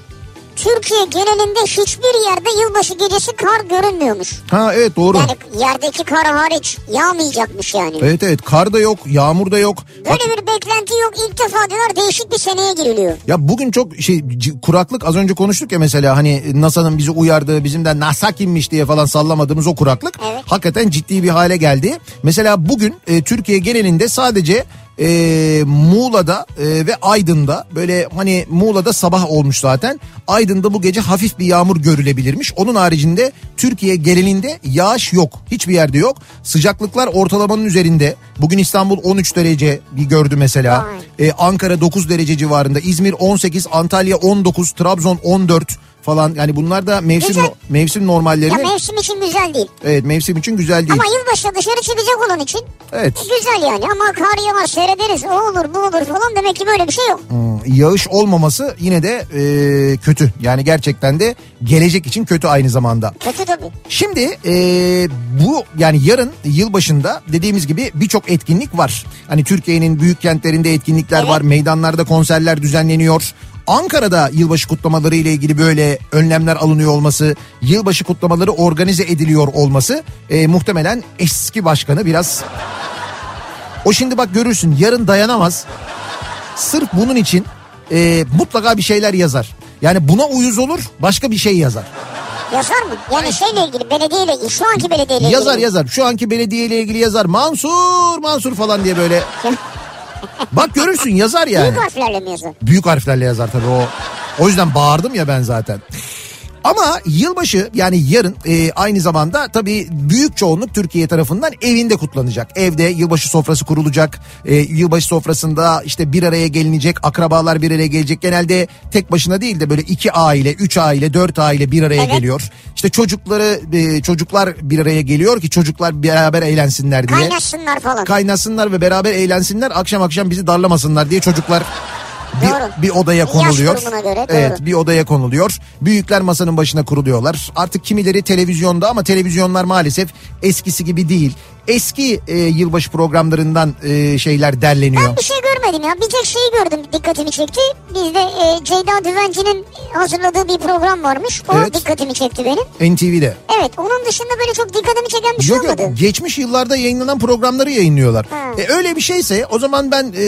S4: Türkiye genelinde hiçbir yerde yılbaşı gecesi kar görünmüyormuş.
S3: Ha evet doğru.
S4: Yani yerdeki kar hariç yağmayacakmış yani.
S3: Evet evet kar da yok yağmur da yok. Bak-
S4: Böyle bir beklenti yok ilk defa diyorlar değişik bir seneye giriliyor.
S3: Ya bugün çok şey c- kuraklık az önce konuştuk ya mesela hani NASA'nın bizi uyardığı bizim de NASA kimmiş diye falan sallamadığımız o kuraklık
S4: Evet.
S3: hakikaten ciddi bir hale geldi. Mesela bugün e, Türkiye genelinde sadece e, Muğla'da e, ve Aydın'da böyle hani Muğla'da sabah olmuş zaten. Aydın'da bu gece hafif bir yağmur görülebilirmiş. Onun haricinde Türkiye genelinde yağış yok. Hiçbir yerde yok. Sıcaklıklar ortalamanın üzerinde. Bugün İstanbul 13 derece bir gördü mesela.
S4: Vay.
S3: Ee, Ankara 9 derece civarında, İzmir 18, Antalya 19, Trabzon 14 falan. Yani bunlar da mevsim
S4: Güzel.
S3: mevsim normalleri.
S4: Ya mevsim için güzel değil.
S3: evet mevsim için güzel değil.
S4: Ama yılbaşı dışarı çıkacak olan için
S3: Evet.
S4: güzel yani. Ama kar yağar seyrederiz o olur bu olur falan demek ki böyle bir şey yok.
S3: Hmm, Yağış olmaması yine de e, kötü. Yani gerçekten de gelecek için kötü aynı zamanda.
S4: Kötü tabii.
S3: Şimdi e, bu yani yarın yılbaşında dediğimiz gibi birçok etkinlik var. Hani Türkiye'nin büyük kentlerinde etkinlikler
S4: Evet.
S3: var. Meydanlarda konserler düzenleniyor. Ankara'da yılbaşı kutlamaları ile ilgili böyle önlemler alınıyor olması, yılbaşı kutlamaları organize ediliyor olması e, muhtemelen eski başkanı biraz o şimdi bak görürsün yarın dayanamaz. Sırf bunun için e, mutlaka bir şeyler yazar. Yani buna uyuz olur başka bir şey yazar.
S4: Yazar mı? Yani şeyle ilgili belediyeyle şu anki belediyeyle
S3: Yazar
S4: ilgili.
S3: yazar. Şu anki belediyeyle ilgili yazar. Mansur Mansur falan diye böyle. Bak görürsün yazar yani.
S4: Büyük harflerle mi yazar?
S3: Büyük harflerle yazar tabii o. O yüzden bağırdım ya ben zaten. Ama yılbaşı yani yarın e, aynı zamanda tabii büyük çoğunluk Türkiye tarafından evinde kutlanacak. Evde yılbaşı sofrası kurulacak. E, yılbaşı sofrasında işte bir araya gelinecek. Akrabalar bir araya gelecek. Genelde tek başına değil de böyle iki aile, üç aile, dört aile bir araya
S4: Evet.
S3: geliyor. İşte çocukları e, çocuklar bir araya geliyor ki çocuklar beraber eğlensinler diye
S4: Kaynaşsınlar falan.
S3: kaynasınlar ve beraber eğlensinler. Akşam akşam bizi darlamasınlar diye çocuklar
S4: Doğru.
S3: bir, bir odaya
S4: Yaş
S3: konuluyor.
S4: grubuna göre, doğru.
S3: evet, bir odaya konuluyor. Büyükler masanın başına kuruluyorlar. Artık kimileri televizyonda ama televizyonlar maalesef eskisi gibi değil. Eski e, yılbaşı programlarından e, şeyler derleniyor.
S4: ben bir şey görmedim ya. Bir tek şeyi gördüm dikkatimi çekti. Bizde e, Ceyda Düvenci'nin hazırladığı bir program varmış. O
S3: Evet.
S4: dikkatimi çekti benim.
S3: NTV'de.
S4: Evet onun dışında böyle çok dikkatimi çeken bir şey
S3: Yok yok
S4: olmadı.
S3: geçmiş yıllarda yayınlanan programları yayınlıyorlar.
S4: Ha.
S3: E, öyle bir şeyse o zaman ben e,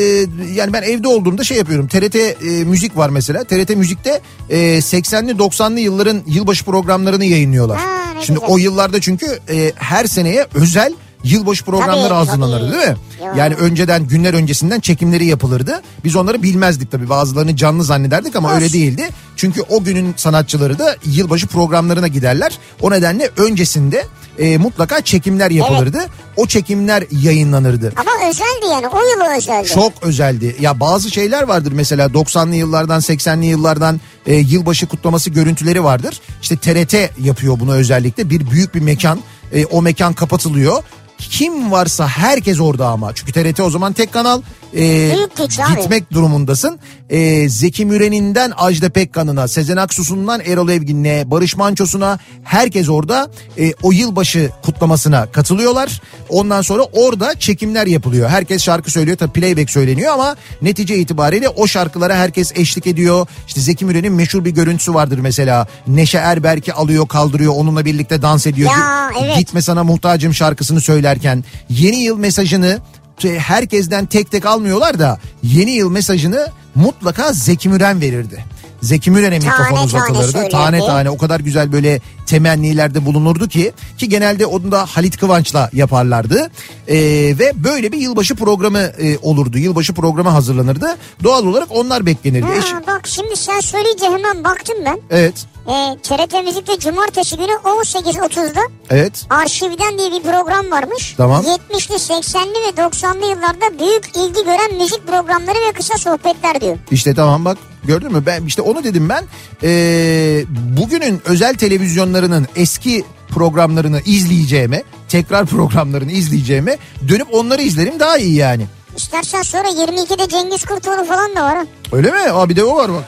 S3: yani ben evde olduğumda şey yapıyorum. TRT e, müzik var mesela. TRT müzikte e, 80'li 90'lı yılların yılbaşı programlarını yayınlıyorlar.
S4: Ha, ne
S3: Şimdi
S4: güzel.
S3: o yıllarda çünkü e, her seneye özel yılbaşı programları
S4: Tabii,
S3: hazırlanırdı
S4: tabii.
S3: değil mi?
S4: Ya.
S3: Yani önceden günler öncesinden çekimleri yapılırdı. Biz onları bilmezdik tabii bazılarını canlı zannederdik ama
S4: Olsun.
S3: öyle değildi. Çünkü o günün sanatçıları da yılbaşı programlarına giderler. O nedenle öncesinde e, mutlaka çekimler yapılırdı. O çekimler yayınlanırdı.
S4: Ama özeldi yani o yılı özeldi.
S3: Çok özeldi. Ya bazı şeyler vardır mesela 90'lı yıllardan 80'li yıllardan e, yılbaşı kutlaması görüntüleri vardır. İşte TRT yapıyor bunu özellikle. Bir büyük bir mekan. E, o mekan kapatılıyor. Kim varsa herkes orada ama. Çünkü TRT o zaman tek kanal. E,
S4: Büyük güç abi.
S3: gitmek durumundasın. E, Zeki Müren'inden Ajda Pekkan'ına, Sezen Aksu'sundan Erol Evgin'e, Barış Manço'suna herkes orada e, o yılbaşı kutlamasına katılıyorlar. Ondan sonra orada çekimler yapılıyor. Herkes şarkı söylüyor tabii playback söyleniyor ama netice itibariyle o şarkılara herkes eşlik ediyor. İşte Zeki Müren'in meşhur bir görüntüsü vardır mesela. Neşe Erberk'i alıyor kaldırıyor onunla birlikte dans ediyor.
S4: Ya, evet.
S3: Git gitme sana muhtacım şarkısını söylerken yeni yıl mesajını t- herkesten tek tek almıyorlar da yeni yıl mesajını mutlaka Zeki Müren verirdi. Zeki Müren'e mikrofon
S4: tane
S3: uzatılırdı.
S4: söylerdi.
S3: Tane tane o kadar güzel böyle temennilerde bulunurdu ki ki genelde onu da Halit Kıvanç'la yaparlardı. Ee, ve böyle bir yılbaşı programı e, olurdu. Yılbaşı programı hazırlanırdı. Doğal olarak onlar beklenirdi. Eş-
S4: Ha, bak şimdi sen söyleyince hemen baktım ben.
S3: evet.
S4: E, TRT Müzik'te cumartesi günü 18.30'da
S3: Evet.
S4: Arşivden diye bir program varmış.
S3: Tamam.
S4: 70'li, 80'li ve 90'lı yıllarda büyük ilgi gören müzik programları ve kısa sohbetler diyor.
S3: İşte tamam bak gördün mü ben işte onu dedim ben Ee, bugünün özel televizyonlarının eski programlarını izleyeceğime tekrar programlarını izleyeceğime dönüp onları izlerim daha iyi yani.
S4: İstersen sonra 22'de Cengiz Kurtoğlu falan da var. ha.
S3: Öyle mi? Abi de o var bak.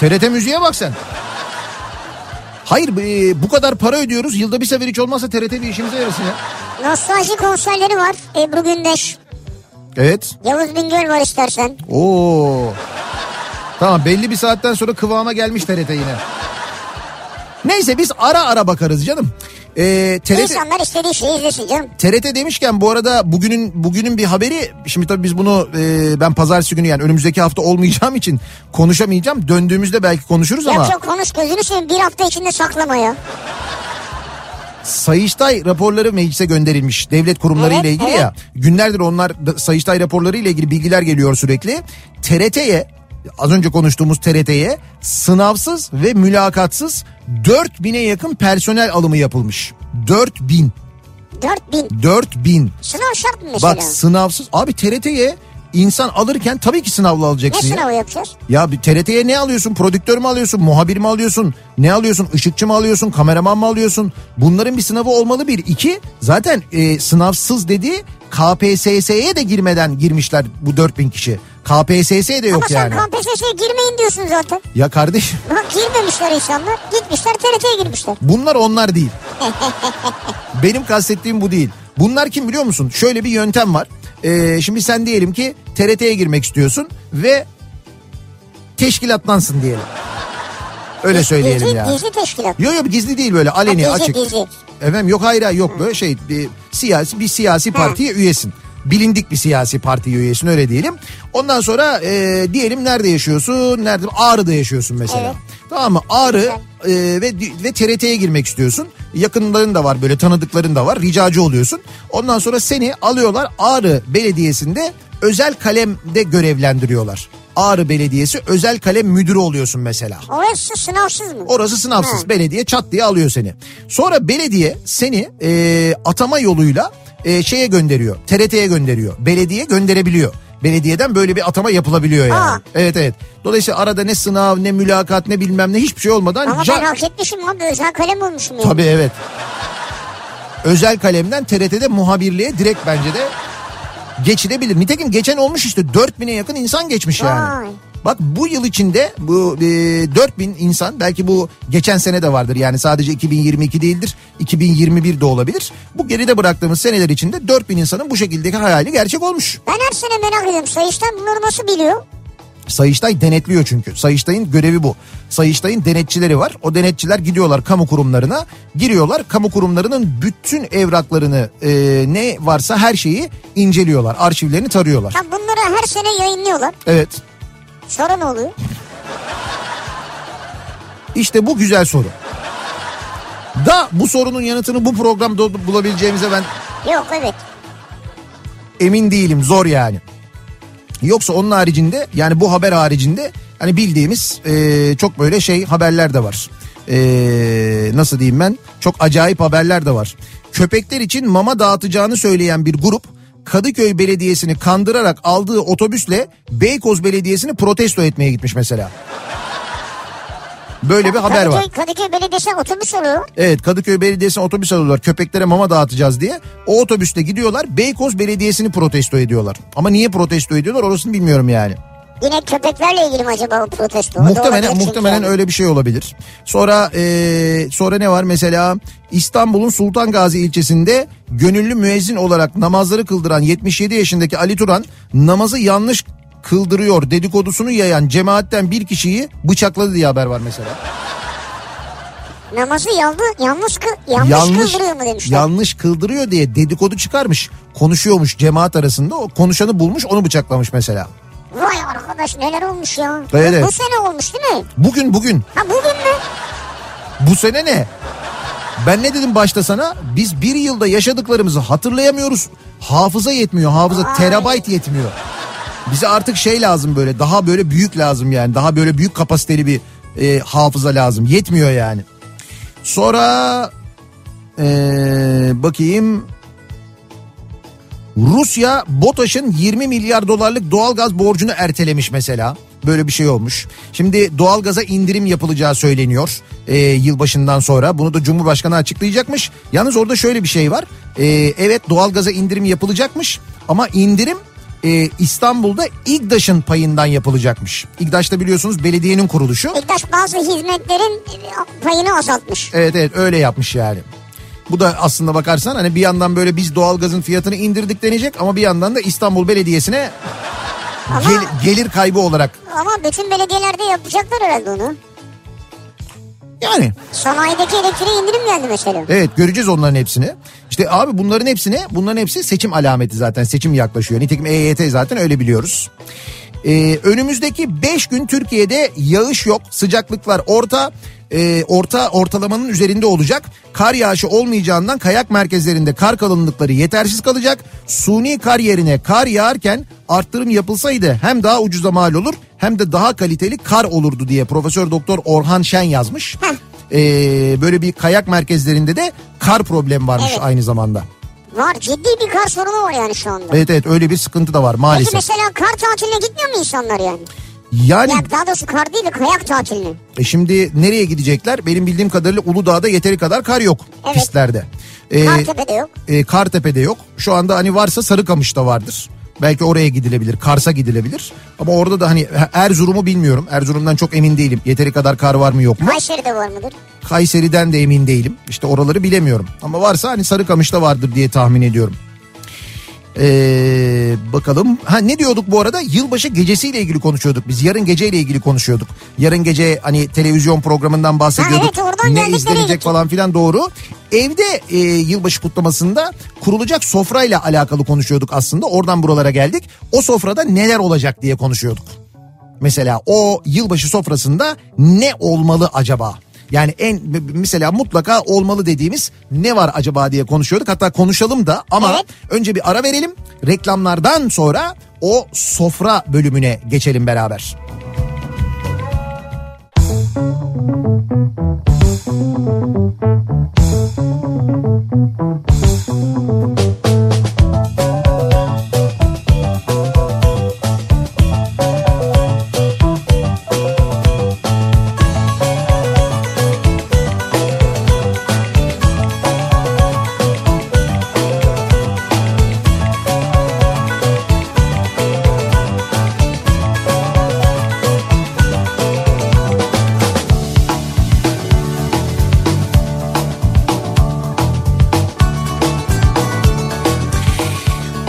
S3: TRT müziğe bak sen. Hayır e, bu kadar para ödüyoruz yılda bir sefer hiç olmazsa TRT bir işimize yarasın ya.
S4: Nostalji konserleri var. Ebru Gündeş,
S3: Evet.
S4: Yavuz Bingöl var istersen.
S3: Oo. Tamam belli bir saatten sonra kıvama gelmiş TRT yine. Neyse biz ara ara bakarız canım. Ee, TRT,
S4: İnsanlar istediği şeyi izlesin canım.
S3: TRT demişken bu arada bugünün bugünün bir haberi şimdi tabii biz bunu e, ben pazartesi günü yani önümüzdeki hafta olmayacağım için konuşamayacağım. Döndüğümüzde belki konuşuruz ama
S4: Yapacak konuş gözünü seveyim bir hafta içinde saklama ya.
S3: Sayıştay raporları meclise gönderilmiş devlet kurumları ile
S4: Evet,
S3: ilgili
S4: evet.
S3: ya. Günlerdir onlar da- Sayıştay raporları ile ilgili bilgiler geliyor sürekli. TRT'ye az önce konuştuğumuz TRT'ye sınavsız ve mülakatsız 4000'e yakın personel alımı yapılmış. 4000
S4: 4000.
S3: 4000
S4: Sınav şart mı mesela?
S3: Bak sınavsız abi TRT'ye insan alırken tabii ki sınavla
S4: ne
S3: alacaksın. ya.
S4: sınavı yapacağız?
S3: Ya bir TRT'ye ne alıyorsun? Prodüktör mü alıyorsun? Muhabir mi alıyorsun? Ne alıyorsun? Işıkçı mı alıyorsun? Kameraman mı alıyorsun? Bunların bir sınavı olmalı bir. iki zaten e, sınavsız dediği KPSS'ye de girmeden girmişler bu 4000 kişi. KPSS de yok
S4: Ama sen
S3: yani.
S4: KPSS'ye girmeyin diyorsun zaten.
S3: Ya kardeşim
S4: Bak girmemişler insanlar. Gitmişler TRT'ye girmişler.
S3: bunlar onlar değil. Benim kastettiğim bu değil. Bunlar kim biliyor musun? Şöyle bir yöntem var. Ee, şimdi sen diyelim ki TRT'ye girmek istiyorsun ve teşkilatlansın diyelim. Öyle söyleyelim
S4: gizli,
S3: yani.
S4: Gizli teşkilat.
S3: Yok yok gizli değil böyle aleni
S4: Ha, gizli,
S3: açık.
S4: gizli.
S3: Efendim yok hayır hayır, yok böyle şey bir siyasi bir siyasi partiye üyesin. Bilindik bir siyasi partiye üyesin öyle diyelim. Ondan sonra e, diyelim nerede yaşıyorsun? Nerede? Ağrı'da yaşıyorsun mesela.
S4: Evet.
S3: Tamam mı? Ağrı e, ve ve TRT'ye girmek istiyorsun. Yakınların da var böyle tanıdıkların da var. Ricacı oluyorsun. Ondan sonra seni alıyorlar Ağrı Belediyesi'nde özel kalemde görevlendiriyorlar. Ağrı Belediyesi özel kalem müdürü oluyorsun mesela.
S4: Orası sınavsız mı?
S3: Orası sınavsız.
S4: Ha.
S3: Belediye çat diye alıyor seni. Sonra belediye seni e, atama yoluyla e, şeye gönderiyor. TRT'ye gönderiyor. Belediye gönderebiliyor. Belediyeden böyle bir atama yapılabiliyor yani.
S4: Aa.
S3: Evet evet. Dolayısıyla arada ne sınav ne mülakat ne bilmem ne hiçbir şey olmadan.
S4: Ama
S3: ca-
S4: ben hak etmişim abi özel kalem olmuşum yani.
S3: Tabii evet. Özel kalemden TRT'de muhabirliğe direkt bence de geçilebilir. Nitekim geçen olmuş işte 4000'e yakın insan geçmiş yani.
S4: Vay.
S3: Bak bu yıl içinde bu e, 4000 insan belki bu geçen sene de vardır yani sadece 2022 değildir 2021 de olabilir. Bu geride bıraktığımız seneler içinde 4000 insanın bu şekildeki hayali gerçek olmuş.
S4: Ben her sene merak ediyorum. Sayıştan bunları nasıl biliyor?
S3: Sayıştay denetliyor çünkü. Sayıştay'ın görevi bu. Sayıştay'ın denetçileri var. O denetçiler gidiyorlar kamu kurumlarına. Giriyorlar kamu kurumlarının bütün evraklarını e, ne varsa her şeyi inceliyorlar. Arşivlerini tarıyorlar.
S4: Ya bunları her sene yayınlıyorlar.
S3: Evet.
S4: Sonra ne oluyor?
S3: İşte bu güzel soru. Da bu sorunun yanıtını bu programda bulabileceğimize ben
S4: Yok evet.
S3: emin değilim zor yani. Yoksa onun haricinde yani bu haber haricinde hani bildiğimiz e, çok böyle şey haberler de var. E, nasıl diyeyim ben çok acayip haberler de var. Köpekler için mama dağıtacağını söyleyen bir grup Kadıköy Belediyesi'ni kandırarak aldığı otobüsle Beykoz Belediyesi'ni protesto etmeye gitmiş mesela. Böyle bir haber
S4: Kadıköy,
S3: var.
S4: Kadıköy Belediyesi'ne otobüs oluyor.
S3: Evet Kadıköy Belediyesi'ne otobüs alıyorlar. Köpeklere mama dağıtacağız diye. O otobüste gidiyorlar. Beykoz Belediyesi'ni protesto ediyorlar. Ama niye protesto ediyorlar orasını bilmiyorum yani.
S4: Yine köpeklerle ilgili mi acaba o protesto? O da olabilir
S3: muhtemelen
S4: çünkü
S3: muhtemelen
S4: yani.
S3: öyle bir şey olabilir. Sonra e, sonra ne var mesela İstanbul'un Sultan Gazi ilçesinde gönüllü müezzin olarak namazları kıldıran 77 yaşındaki Ali Turan namazı yanlış kıldırıyor dedikodusunu yayan cemaatten bir kişiyi bıçakladı diye haber var mesela.
S4: Namazı yalnız, yalnız, kı, yanlış, kıldırıyor mu demişler.
S3: yanlış kıldırıyor diye dedikodu çıkarmış. Konuşuyormuş cemaat arasında. O konuşanı bulmuş onu bıçaklamış mesela.
S4: Vay arkadaş neler olmuş ya.
S3: Evet,
S4: Bu
S3: evet.
S4: sene olmuş değil mi?
S3: Bugün bugün
S4: Ha bugün mü?
S3: bu sene ne? Ben ne dedim başta sana? Biz bir yılda yaşadıklarımızı hatırlayamıyoruz. Hafıza yetmiyor. Hafıza
S4: Ay.
S3: terabayt yetmiyor. Bize artık şey lazım böyle daha böyle büyük lazım yani. Daha böyle büyük kapasiteli bir e, hafıza lazım. Yetmiyor yani. Sonra e, bakayım Rusya BOTAŞ'ın 20 milyar dolarlık doğalgaz borcunu ertelemiş mesela. Böyle bir şey olmuş. Şimdi doğalgaza indirim yapılacağı söyleniyor e, yılbaşından sonra. Bunu da Cumhurbaşkanı açıklayacakmış. Yalnız orada şöyle bir şey var. E, evet doğalgaza indirim yapılacakmış ama indirim e, İstanbul'da İGDAŞ'ın payından yapılacakmış. İGDAŞ da biliyorsunuz belediyenin kuruluşu.
S4: İktaş bazı hizmetlerin e, payını azaltmış.
S3: Evet evet öyle yapmış yani. Bu da aslında bakarsan hani bir yandan böyle biz doğalgazın fiyatını indirdik denecek ama bir yandan da İstanbul Belediyesi'ne
S4: Ama-
S3: gel- gelir kaybı olarak
S4: Ama bütün belediyelerde yapacaklar herhalde onu.
S3: yani
S4: Sanayideki elektriğe indirim geldi mesela.
S3: evet göreceğiz onların hepsini. İşte abi bunların hepsini bunların hepsi seçim alameti zaten seçim yaklaşıyor. Nitekim EYT zaten öyle biliyoruz. Ee, önümüzdeki 5 gün Türkiye'de yağış yok. Sıcaklıklar orta e, orta ortalamanın üzerinde olacak. Kar yağışı olmayacağından kayak merkezlerinde kar kalınlıkları yetersiz kalacak. Suni kar yerine kar yağarken arttırım yapılsaydı hem daha ucuza mal olur hem de daha kaliteli kar olurdu diye Profesör Doktor Orhan Şen yazmış. Ee, böyle bir kayak merkezlerinde de kar problemi varmış
S4: Evet.
S3: aynı zamanda.
S4: Var ciddi bir kar sorunu var yani şu anda.
S3: Evet evet öyle bir sıkıntı da var
S4: Peki
S3: maalesef.
S4: mesela kar tatiline gitmiyor mu insanlar yani?
S3: Yani
S4: Ya daha doğrusu kar değil de kayak tatiline.
S3: E şimdi nereye gidecekler? Benim bildiğim kadarıyla Uludağ'da yeteri kadar kar yok
S4: Evet.
S3: pistlerde. E,
S4: Kartepe'de yok.
S3: e, Kartepe'de yok. Şu anda hani varsa Sarıkamış'ta vardır. Belki oraya gidilebilir. Kars'a gidilebilir. Ama orada da hani Erzurum'u bilmiyorum. Erzurum'dan çok emin değilim. Yeteri kadar kar var mı yok mu?
S4: Kayseri'de var mıdır?
S3: Kayseri'den de emin değilim. İşte oraları bilemiyorum. Ama varsa hani Sarıkamış'ta vardır diye tahmin ediyorum. Ee, bakalım. Ha ne diyorduk bu arada? Yılbaşı gecesiyle ilgili konuşuyorduk biz. Yarın geceyle ilgili konuşuyorduk. Yarın gece hani televizyon programından bahsediyorduk.
S4: Ha, evet, oradan
S3: ne
S4: geldik, nereye
S3: izlenecek
S4: gittik?
S3: falan filan doğru. Evde e, yılbaşı kutlamasında kurulacak sofrayla alakalı konuşuyorduk aslında. Oradan buralara geldik. O sofrada neler olacak diye konuşuyorduk. Mesela o yılbaşı sofrasında ne olmalı acaba? Yani en mesela mutlaka olmalı dediğimiz ne var acaba diye konuşuyorduk. Hatta konuşalım da ama
S4: Evet.
S3: önce bir ara verelim. Reklamlardan sonra o sofra bölümüne geçelim beraber.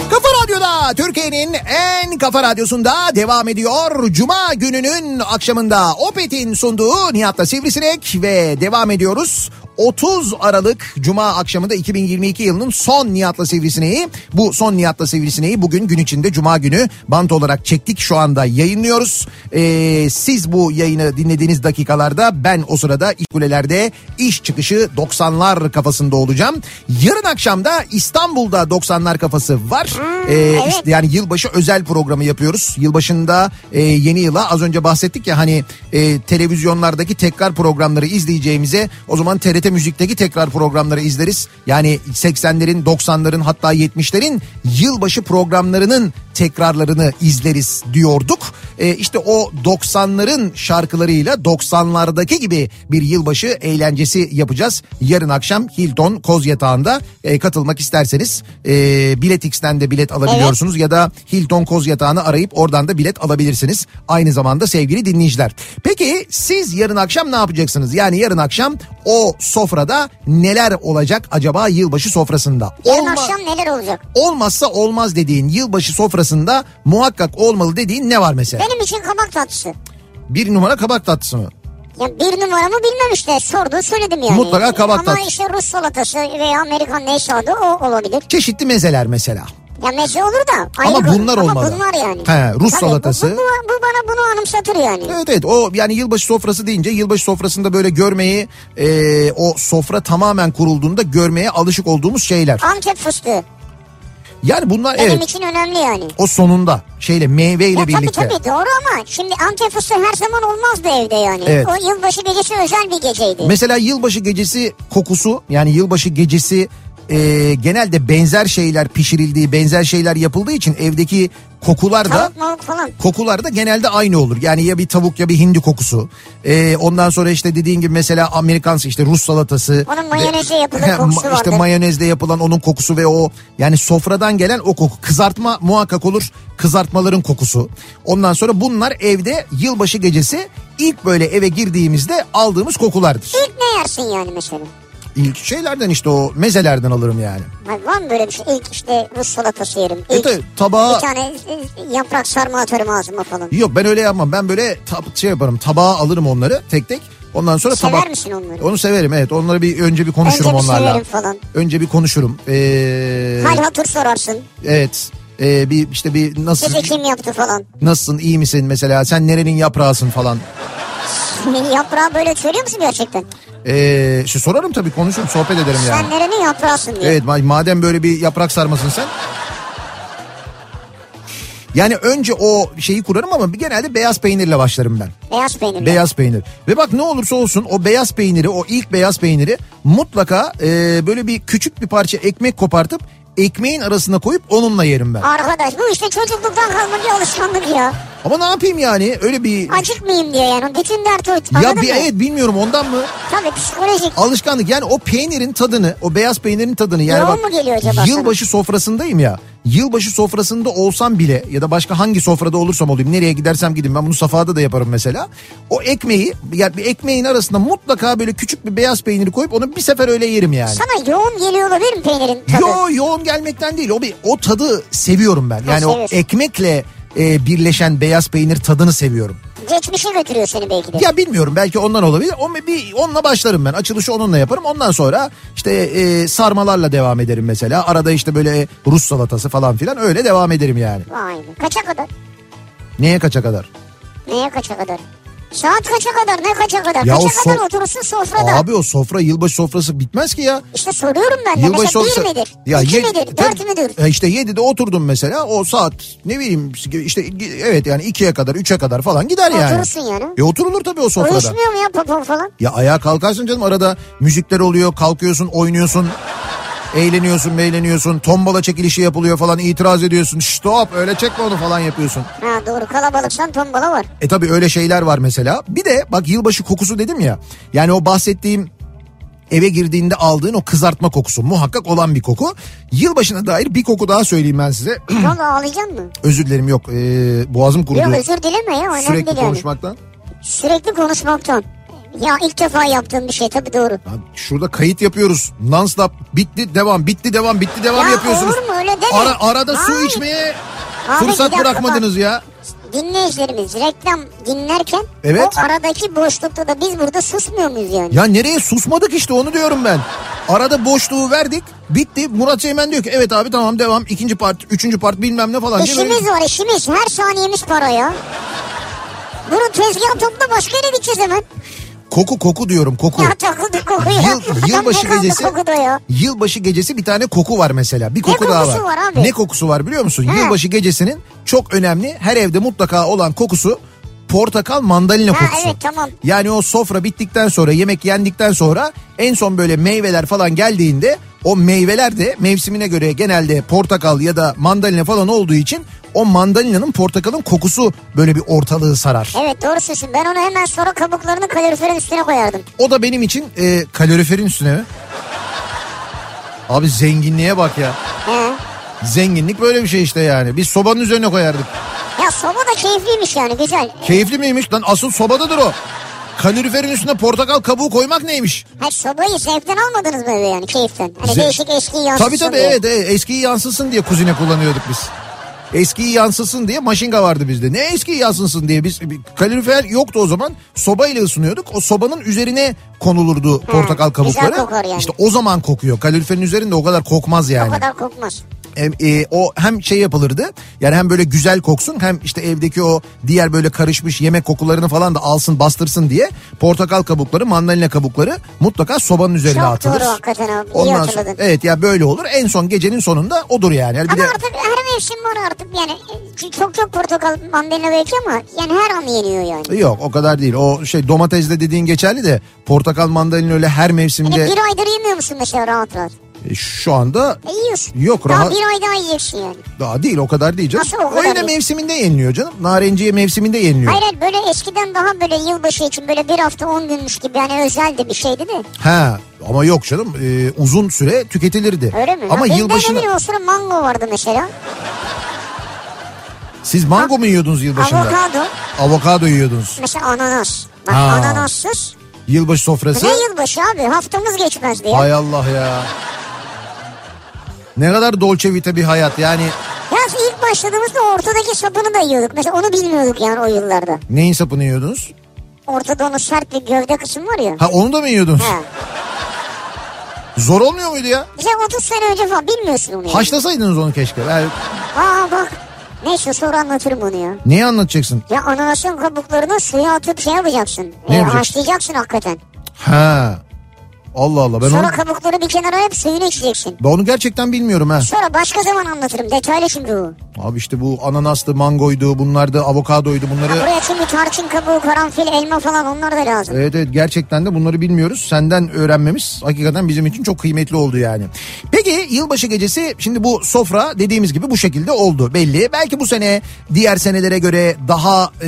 S3: Kafa Radyo'da Türkiye'nin en kafa radyosunda devam ediyor. Cuma gününün akşamında Opet'in sunduğu Nihat'la Sivrisinek ve devam ediyoruz. 30 Aralık Cuma akşamında 2022 yılının son Nihat'la Sivrisineği. Bu son Nihat'la Sivrisineği bugün gün içinde Cuma günü bant olarak çektik. Şu anda yayınlıyoruz. Ee, siz bu yayını dinlediğiniz dakikalarda ben o sırada İlkuleler'de iş çıkışı 90'lar kafasında olacağım. Yarın akşam da İstanbul'da 90'lar kafası var. Ee,
S4: evet.
S3: işte yani yılbaşı özel programı yapıyoruz. Yılbaşında e, yeni yıla az önce bahsettik ya hani e, televizyonlardaki tekrar programları izleyeceğimize o zaman TRT Müzik'teki tekrar programları izleriz. Yani 80'lerin 90'ların hatta 70'lerin yılbaşı programlarının tekrarlarını izleriz diyorduk. E, işte o 90'ların şarkılarıyla 90'lardaki gibi bir yılbaşı eğlencesi yapacağız. Yarın akşam Hilton Koz Yatağı'nda e, katılmak isterseniz e, Biletix'ten de bilet alabiliyorsunuz ya da Hilton Koz Yatağı'nı arayıp oradan da bilet alabilirsiniz. Aynı zamanda sevgili dinleyiciler. Peki siz yarın akşam ne yapacaksınız? Yani yarın akşam o sofrada neler olacak acaba yılbaşı sofrasında?
S4: Yarın
S3: Olma-
S4: akşam neler olacak?
S3: olmazsa olmaz dediğin yılbaşı sofrasında muhakkak olmalı dediğin ne var mesela?
S4: Benim için kabak tatlısı.
S3: Bir numara kabak tatlısı mı?
S4: Ya bir numaramı bilmem işte sordu söyledim yani.
S3: Mutlaka kabak
S4: Ama
S3: tatlısı.
S4: işte Rus salatası veya Amerikan neyse adı o olabilir.
S3: Çeşitli mezeler mesela.
S4: Ya meze olur da. ayrı
S3: Ama
S4: konu.
S3: bunlar olmalı.
S4: Ama bunlar yani.
S3: He, Rus
S4: Tabii,
S3: salatası.
S4: Bu, bu- bu bana bunu anımsatır yani.
S3: Evet evet o yani yılbaşı sofrası deyince yılbaşı sofrasında böyle görmeyi e, o sofra tamamen kurulduğunda görmeye alışık olduğumuz şeyler.
S4: Antep fıstığı.
S3: Yani bunlar
S4: Benim
S3: evet
S4: için önemli yani.
S3: o sonunda şeyle meyveyle
S4: Ya tabii
S3: birlikte.
S4: tabii doğru ama şimdi Antep fıstığı her zaman olmazdı evde yani.
S3: Evet.
S4: O yılbaşı gecesi özel bir geceydi.
S3: Mesela yılbaşı gecesi kokusu yani yılbaşı gecesi e, genelde benzer şeyler pişirildiği benzer şeyler yapıldığı için evdeki kokular da
S4: Tavuk mavuk falan.
S3: kokular da genelde aynı olur. Yani ya bir tavuk ya bir hindi kokusu. Ee, ondan sonra işte dediğin gibi mesela Amerikan işte Rus salatası.
S4: Onun mayonezle yapılan
S3: He,
S4: kokusu
S3: ma- İşte
S4: vardır.
S3: mayonezle yapılan onun kokusu ve o yani sofradan gelen o koku. Kızartma muhakkak olur. Kızartmaların kokusu. Ondan sonra bunlar evde yılbaşı gecesi ilk böyle eve girdiğimizde aldığımız kokulardır.
S4: İlk ne yersin yani mesela?
S3: İlk şeylerden işte o mezelerden alırım yani.
S4: Ay var mı böyle bir şey? İlk işte Rus salatası yerim.
S3: E
S4: İlk
S3: tabii tabağa
S4: bir tane e, yaprak sarma atarım ağzıma falan.
S3: Yok ben öyle yapmam. Ben böyle tab- şey yaparım. Tabağa alırım onları tek tek. Ondan sonra
S4: Sever
S3: tabak.
S4: misin onları?
S3: Onu severim evet. Onları bir önce bir konuşurum
S4: Önce bir
S3: onlarla.
S4: severim falan.
S3: Önce bir konuşurum. Ee,
S4: Hal hatır sorarsın.
S3: evet. Ee, bir işte bir nasıl
S4: Size kim yaptı falan.
S3: nasılsın iyi misin mesela sen nerenin yaprağısın falan.
S4: Yaprağı böyle söylüyor musun gerçekten?
S3: Ee, işte sorarım tabii konuşurum sohbet ederim yani.
S4: Sen nerenin yaprağısın diye.
S3: Evet ma- madem böyle bir yaprak sarmasın sen. Yani önce o şeyi kurarım ama bir genelde beyaz peynirle başlarım ben.
S4: Beyaz peynirli.
S3: Beyaz peynir. Ve bak ne olursa olsun o beyaz peyniri o ilk beyaz peyniri mutlaka e, böyle bir küçük bir parça ekmek kopartıp ekmeğin arasına koyup onunla yerim ben.
S4: Arkadaş bu işte çocukluktan kalma bir alışkanlık ya.
S3: Ama ne yapayım yani öyle bir...
S4: Acıkmayayım diyor yani. Bütün dert o.
S3: Ya
S4: Anladın
S3: bir
S4: mı?
S3: evet bilmiyorum ondan mı?
S4: Tabii psikolojik.
S3: Alışkanlık yani o peynirin tadını o beyaz peynirin tadını yani
S4: Yoğun
S3: bak
S4: mu geliyor acaba sana?
S3: yılbaşı sofrasındayım ya yılbaşı sofrasında olsam bile ya da başka hangi sofrada olursam olayım nereye gidersem gideyim ben bunu safhada da yaparım mesela o ekmeği yani bir ekmeğin arasına mutlaka böyle küçük bir beyaz peyniri koyup onu bir sefer öyle yerim yani.
S4: Sana yoğun geliyor olabilir mi peynirin tadı?
S3: Yo yoğun gelmekten değil. O bir o tadı seviyorum ben. Yani o
S4: seviyorsun.
S3: ekmekle e, birleşen beyaz peynir tadını seviyorum.
S4: Geçmişe götürüyor seni belki de.
S3: Ya bilmiyorum belki ondan olabilir. O bir onunla başlarım ben. Açılışı onunla yaparım. Ondan sonra işte e, sarmalarla devam ederim mesela. Arada işte böyle Rus salatası falan filan öyle devam ederim yani.
S4: Vay be. Kaça kadar?
S3: Neye kaça kadar?
S4: Neye kaça kadar? Saat kaça kadar? Ne kaça kadar?
S3: Ya o
S4: kaça
S3: so-
S4: kadar oturursun sofrada?
S3: Abi o sofra yılbaşı sofrası bitmez ki ya.
S4: İşte soruyorum ben de. Mesela bir midir? iki
S3: ye-
S4: midir?
S3: tabii-
S4: Dört müdür?
S3: E işte 7'de oturdum mesela o saat ne bileyim işte evet yani 2'ye kadar 3'e kadar falan gider yani.
S4: Oturursun yani.
S3: E oturulur tabii o sofrada.
S4: Uyuşmuyor mu ya popon falan?
S3: Ya ayağa kalkarsın canım arada müzikler oluyor kalkıyorsun oynuyorsun. Eğleniyorsun eğleniyorsun tombala çekilişi yapılıyor falan itiraz ediyorsun stop öyle çekme onu falan yapıyorsun.
S4: Ha doğru kalabalıksan tombala var.
S3: E tabii öyle şeyler var mesela. Bir de bak yılbaşı kokusu dedim ya. Yani o bahsettiğim eve girdiğinde aldığın o kızartma kokusu muhakkak olan bir koku. Yılbaşına dair bir koku daha söyleyeyim ben size.
S4: Valla ağlayacaksın mı?
S3: Özür dilerim yok ee, boğazım kurudu.
S4: Yok özür dileme ya. Önemli
S3: Sürekli
S4: değil
S3: konuşmaktan.
S4: Yani. Sürekli konuşmaktan. Ya ilk defa yaptığım bir şey tabii doğru.
S3: Ya şurada kayıt yapıyoruz. Non stop bitti devam bitti devam bitti devam
S4: Ya
S3: yapıyorsunuz.
S4: olur mu öyle deme.
S3: Ara, arada su
S4: Hayır.
S3: içmeye
S4: Abi bir
S3: fırsat
S4: dakika
S3: bırakmadınız ya.
S4: dinleyicilerimiz reklam dinlerken
S3: Evet.
S4: o aradaki boşlukta da biz burada susmuyor muyuz yani?
S3: Ya nereye susmadık işte onu diyorum ben. Arada boşluğu verdik bitti. Murat Seymen diyor ki evet abi tamam devam. ikinci part, üçüncü part bilmem ne falan. diye böyle-
S4: işimiz var işimiz her saniyemiz para ya. Bunu tezgah topla başka yere gideceğiz hemen.
S3: Koku koku diyorum koku.
S4: Ya takıldı kokuyor.
S3: Yıl, yılbaşı
S4: Adam ne
S3: gecesi
S4: kaldı kokuda ya.
S3: yılbaşı gecesi bir tane koku var mesela. Bir koku daha var.
S4: kokusu var abi?
S3: Ne kokusu var biliyor musun?
S4: He.
S3: Yılbaşı gecesinin çok önemli her evde mutlaka olan kokusu portakal mandalina
S4: Ha,
S3: kokusu.
S4: evet, tamam.
S3: Yani o sofra bittikten sonra yemek yendikten sonra en son böyle meyveler falan geldiğinde o meyveler de mevsimine göre genelde portakal ya da mandalina falan olduğu için o mandalinanın portakalın kokusu böyle bir ortalığı sarar.
S4: Evet doğru söylüyorsun. Ben onu hemen sonra kabuklarını kaloriferin üstüne koyardım.
S3: O da benim için e, kaloriferin üstüne mi? Abi zenginliğe bak ya.
S4: He.
S3: Zenginlik böyle bir şey işte yani. Biz sobanın üzerine koyardık.
S4: Ya soba da keyifliymiş yani güzel.
S3: Keyifli miymiş lan? Asıl sobadadır o. Kaloriferin üstüne portakal kabuğu koymak neymiş?
S4: Ha sobayı zevkten almadınız mı eve yani keyiften? Hani
S3: Ze-
S4: değişik eskiyi yansıtsın
S3: Tabii tabii
S4: diye.
S3: evet, evet. eskiyi yansıtsın diye kuzine kullanıyorduk biz. Eskiyi yansıtsın diye maşinga vardı bizde. Ne eskiyi yansıtsın diye biz bir kalorifer yoktu o zaman. Sobayla ısınıyorduk. O sobanın üzerine konulurdu portakal
S4: Hmm. güzel
S3: kabukları.
S4: kokar yani.
S3: İşte o zaman kokuyor. Kaloriferin üzerinde o kadar kokmaz yani.
S4: O kadar kokmaz.
S3: Hem, e, o hem şey yapılırdı yani hem böyle güzel koksun hem işte evdeki o diğer böyle karışmış yemek kokularını falan da alsın bastırsın diye portakal kabukları mandalina kabukları mutlaka sobanın üzerine
S4: Çok
S3: atılır.
S4: doğru hakikaten abi. İyi
S3: Ondan
S4: hatırladın.
S3: sonra, evet ya böyle olur en son gecenin sonunda odur yani. Yani bir
S4: Ama
S3: de
S4: artık her mevsim var artık yani e, Ç- çok çok portakal mandalina belki ama yani her an yeniyor yani.
S3: Yok o kadar değil. O şey domatesle dediğin geçerli de portakal mandalina öyle her
S4: Bir, de
S3: mevsimde
S4: bir aydır yemiyor musun mesela rahat rahat?
S3: e, şu anda
S4: E yiyorsun.
S3: Yok,
S4: Daha
S3: rahat-
S4: bir ay daha yiyeceksin yani.
S3: daha değil o kadar değil canım.
S4: Nasıl o kadar
S3: yine
S4: değil?
S3: mevsiminde yeniliyor canım. Narenciye mevsiminde yeniliyor.
S4: Hayır hayır böyle eskiden daha böyle yılbaşı için böyle bir hafta on günmüş gibi yani özeldi bir şeydi de.
S3: Ha ama yok canım e, uzun süre tüketilirdi.
S4: Öyle mi?
S3: Ama
S4: ya,
S3: yılbaşına
S4: Bizde ne o sıra mango vardı mesela.
S3: siz mango mu yiyordunuz yılbaşında?
S4: Avokado.
S3: Avokado yiyordunuz.
S4: Mesela ananas. Bak
S3: Ha.
S4: ananassız.
S3: Yılbaşı
S4: Ne
S3: sofrası.
S4: yılbaşı abi haftamız geçmezdi ya.
S3: Hay Allah ya. Ne kadar dolce vita bir hayat yani
S4: Yalnız ilk başladığımızda ortadaki sapını da yiyorduk. Mesela onu bilmiyorduk yani o yıllarda.
S3: neyin sapını yiyordunuz?
S4: Ortada onun sert bir gövde kısmı var ya.
S3: Ha onu da mı yiyordunuz?
S4: He.
S3: Zor olmuyor muydu ya?
S4: Bize 30 sene önce falan bilmiyorsun onu ya.
S3: Haşlasaydınız onu keşke. Yani
S4: Aa bak. Neyse sonra anlatırım onu ya.
S3: neyi anlatacaksın?
S4: Ya ananasın kabuklarını suya atıp şey yapacaksın.
S3: Ne
S4: E,
S3: yapacaksın?
S4: haşlayacaksın hakikaten.
S3: Ha. Allah Allah ben
S4: Sonra
S3: onu,
S4: kabukları bir kenara alıp suyunu içeceksin.
S3: ben onu gerçekten bilmiyorum ha.
S4: Sonra başka zaman anlatırım. Detaylı şimdi bu.
S3: Abi işte bu ananaslı mangoydu bunlar da avokadoydu bunları.
S4: Buraya şimdi tarçın kabuğu, karanfil, elma falan onlar da lazım.
S3: Evet evet gerçekten de bunları bilmiyoruz. Senden öğrenmemiz hakikaten bizim için çok kıymetli oldu yani. Peki yılbaşı gecesi şimdi bu sofra dediğimiz gibi bu şekilde oldu belli. Belki bu sene diğer senelere göre daha e,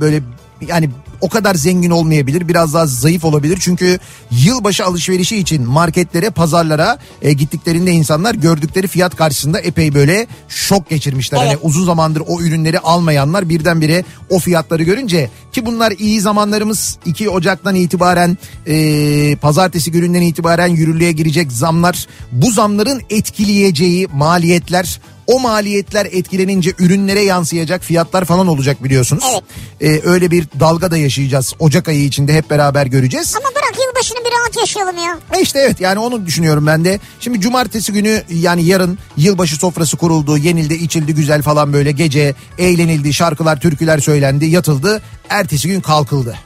S3: böyle yani o kadar zengin olmayabilir biraz daha zayıf olabilir çünkü yılbaşı alışverişi için marketlere pazarlara e, gittiklerinde insanlar gördükleri fiyat karşısında epey böyle şok geçirmişler. Hani
S4: Evet.
S3: uzun zamandır o ürünleri almayanlar birdenbire o fiyatları görünce ki bunlar iyi zamanlarımız 2 Ocak'tan itibaren e, pazartesi gününden itibaren yürürlüğe girecek zamlar bu zamların etkileyeceği maliyetler o maliyetler etkilenince ürünlere yansıyacak fiyatlar falan olacak biliyorsunuz.
S4: Evet.
S3: E, öyle bir dalga da yaşayacağız Ocak ayı içinde hep beraber göreceğiz.
S4: Ama bırak yılbaşını bir rahat yaşayalım ya.
S3: E İşte evet yani onu düşünüyorum ben de. Şimdi cumartesi günü yani yarın yılbaşı sofrası kuruldu, yenildi, içildi güzel falan böyle gece eğlenildi, şarkılar, türküler söylendi, yatıldı. Ertesi gün kalkıldı.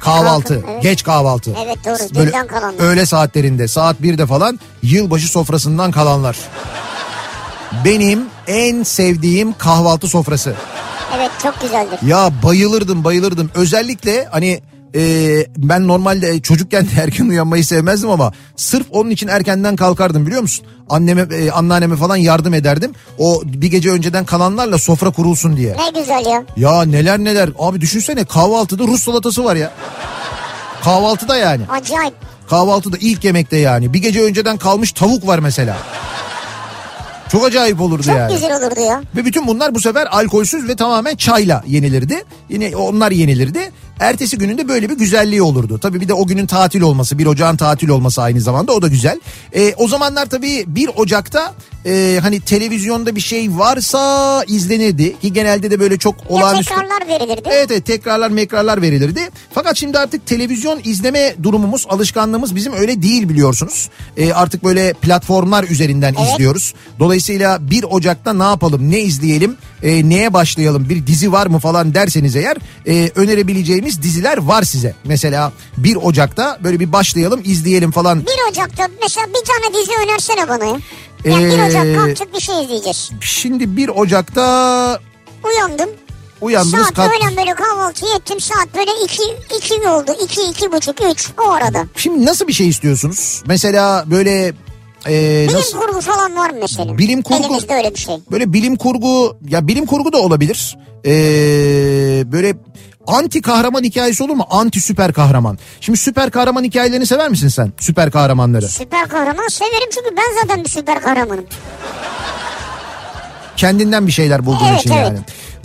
S3: Kahvaltı,
S4: Kalkın, evet.
S3: geç kahvaltı.
S4: Evet, doğru,
S3: Böyle
S4: dünden kalanlar.
S3: Öğle saatlerinde, saat 1'de falan yılbaşı sofrasından kalanlar. Benim en sevdiğim kahvaltı sofrası.
S4: Evet çok güzeldir.
S3: Ya bayılırdım bayılırdım. Özellikle hani e, ben normalde çocukken de erken uyanmayı sevmezdim ama sırf onun için erkenden kalkardım biliyor musun? Anneme e, anneanneme falan yardım ederdim. O bir gece önceden kalanlarla sofra kurulsun diye.
S4: Ne güzel ya.
S3: Ya neler neler abi düşünsene kahvaltıda Rus salatası var ya. Kahvaltıda yani.
S4: Acayip.
S3: Kahvaltıda ilk yemekte yani. Bir gece önceden kalmış tavuk var mesela. Çok acayip olurdu
S4: Çok
S3: yani.
S4: güzel olurdu ya.
S3: Ve bütün bunlar bu sefer alkolsüz ve tamamen çayla yenilirdi. Yine onlar yenilirdi. Ertesi gününde böyle bir güzelliği olurdu. Tabii bir de o günün tatil olması 1 Ocak'ın tatil olması aynı zamanda o da güzel. E, o zamanlar tabii 1 Ocak'ta e, hani televizyonda bir şey varsa izlenirdi ki genelde de böyle çok
S4: Ya
S3: olağanüstü... Ee,
S4: tekrarlar verilirdi.
S3: Evet evet tekrarlar mekrarlar verilirdi. Fakat şimdi artık televizyon izleme durumumuz, alışkanlığımız bizim öyle değil biliyorsunuz. Ee, artık böyle platformlar üzerinden
S4: Evet.
S3: izliyoruz. Dolayısıyla 1 Ocak'ta ne yapalım, ne izleyelim, e, neye başlayalım, bir dizi var mı falan derseniz eğer e, önerebileceğimiz diziler var size. Mesela 1 Ocak'ta böyle bir başlayalım, izleyelim falan.
S4: 1 Ocak'ta mesela bir tane dizi önersene bana ya. Ya
S3: Ee,
S4: 1 Ocak kalktık bir şey izleyeceğiz.
S3: Şimdi 1 Ocak'ta
S4: Uyandım.
S3: uyandınız
S4: Saat
S3: kalktınız.
S4: öğlen böyle kahvaltıyı ettim. Saat böyle 2 2 mi oldu? 2 iki buçuk 3 o arada.
S3: Şimdi nasıl bir şey istiyorsunuz? Mesela böyle... e,
S4: Bilim
S3: nasıl?
S4: kurgu falan var mı mesela?
S3: Bilim kurgu-
S4: Elimizde öyle bir şey.
S3: böyle bilim kurgu ya bilim kurgu da olabilir. Ee, böyle anti kahraman hikayesi olur mu? Anti süper kahraman. Şimdi süper kahraman hikayelerini sever misin sen? Süper kahramanları.
S4: Süper kahraman severim çünkü ben zaten bir süper kahramanım.
S3: Kendinden bir şeyler bulduğun
S4: Evet,
S3: için
S4: evet.
S3: yani.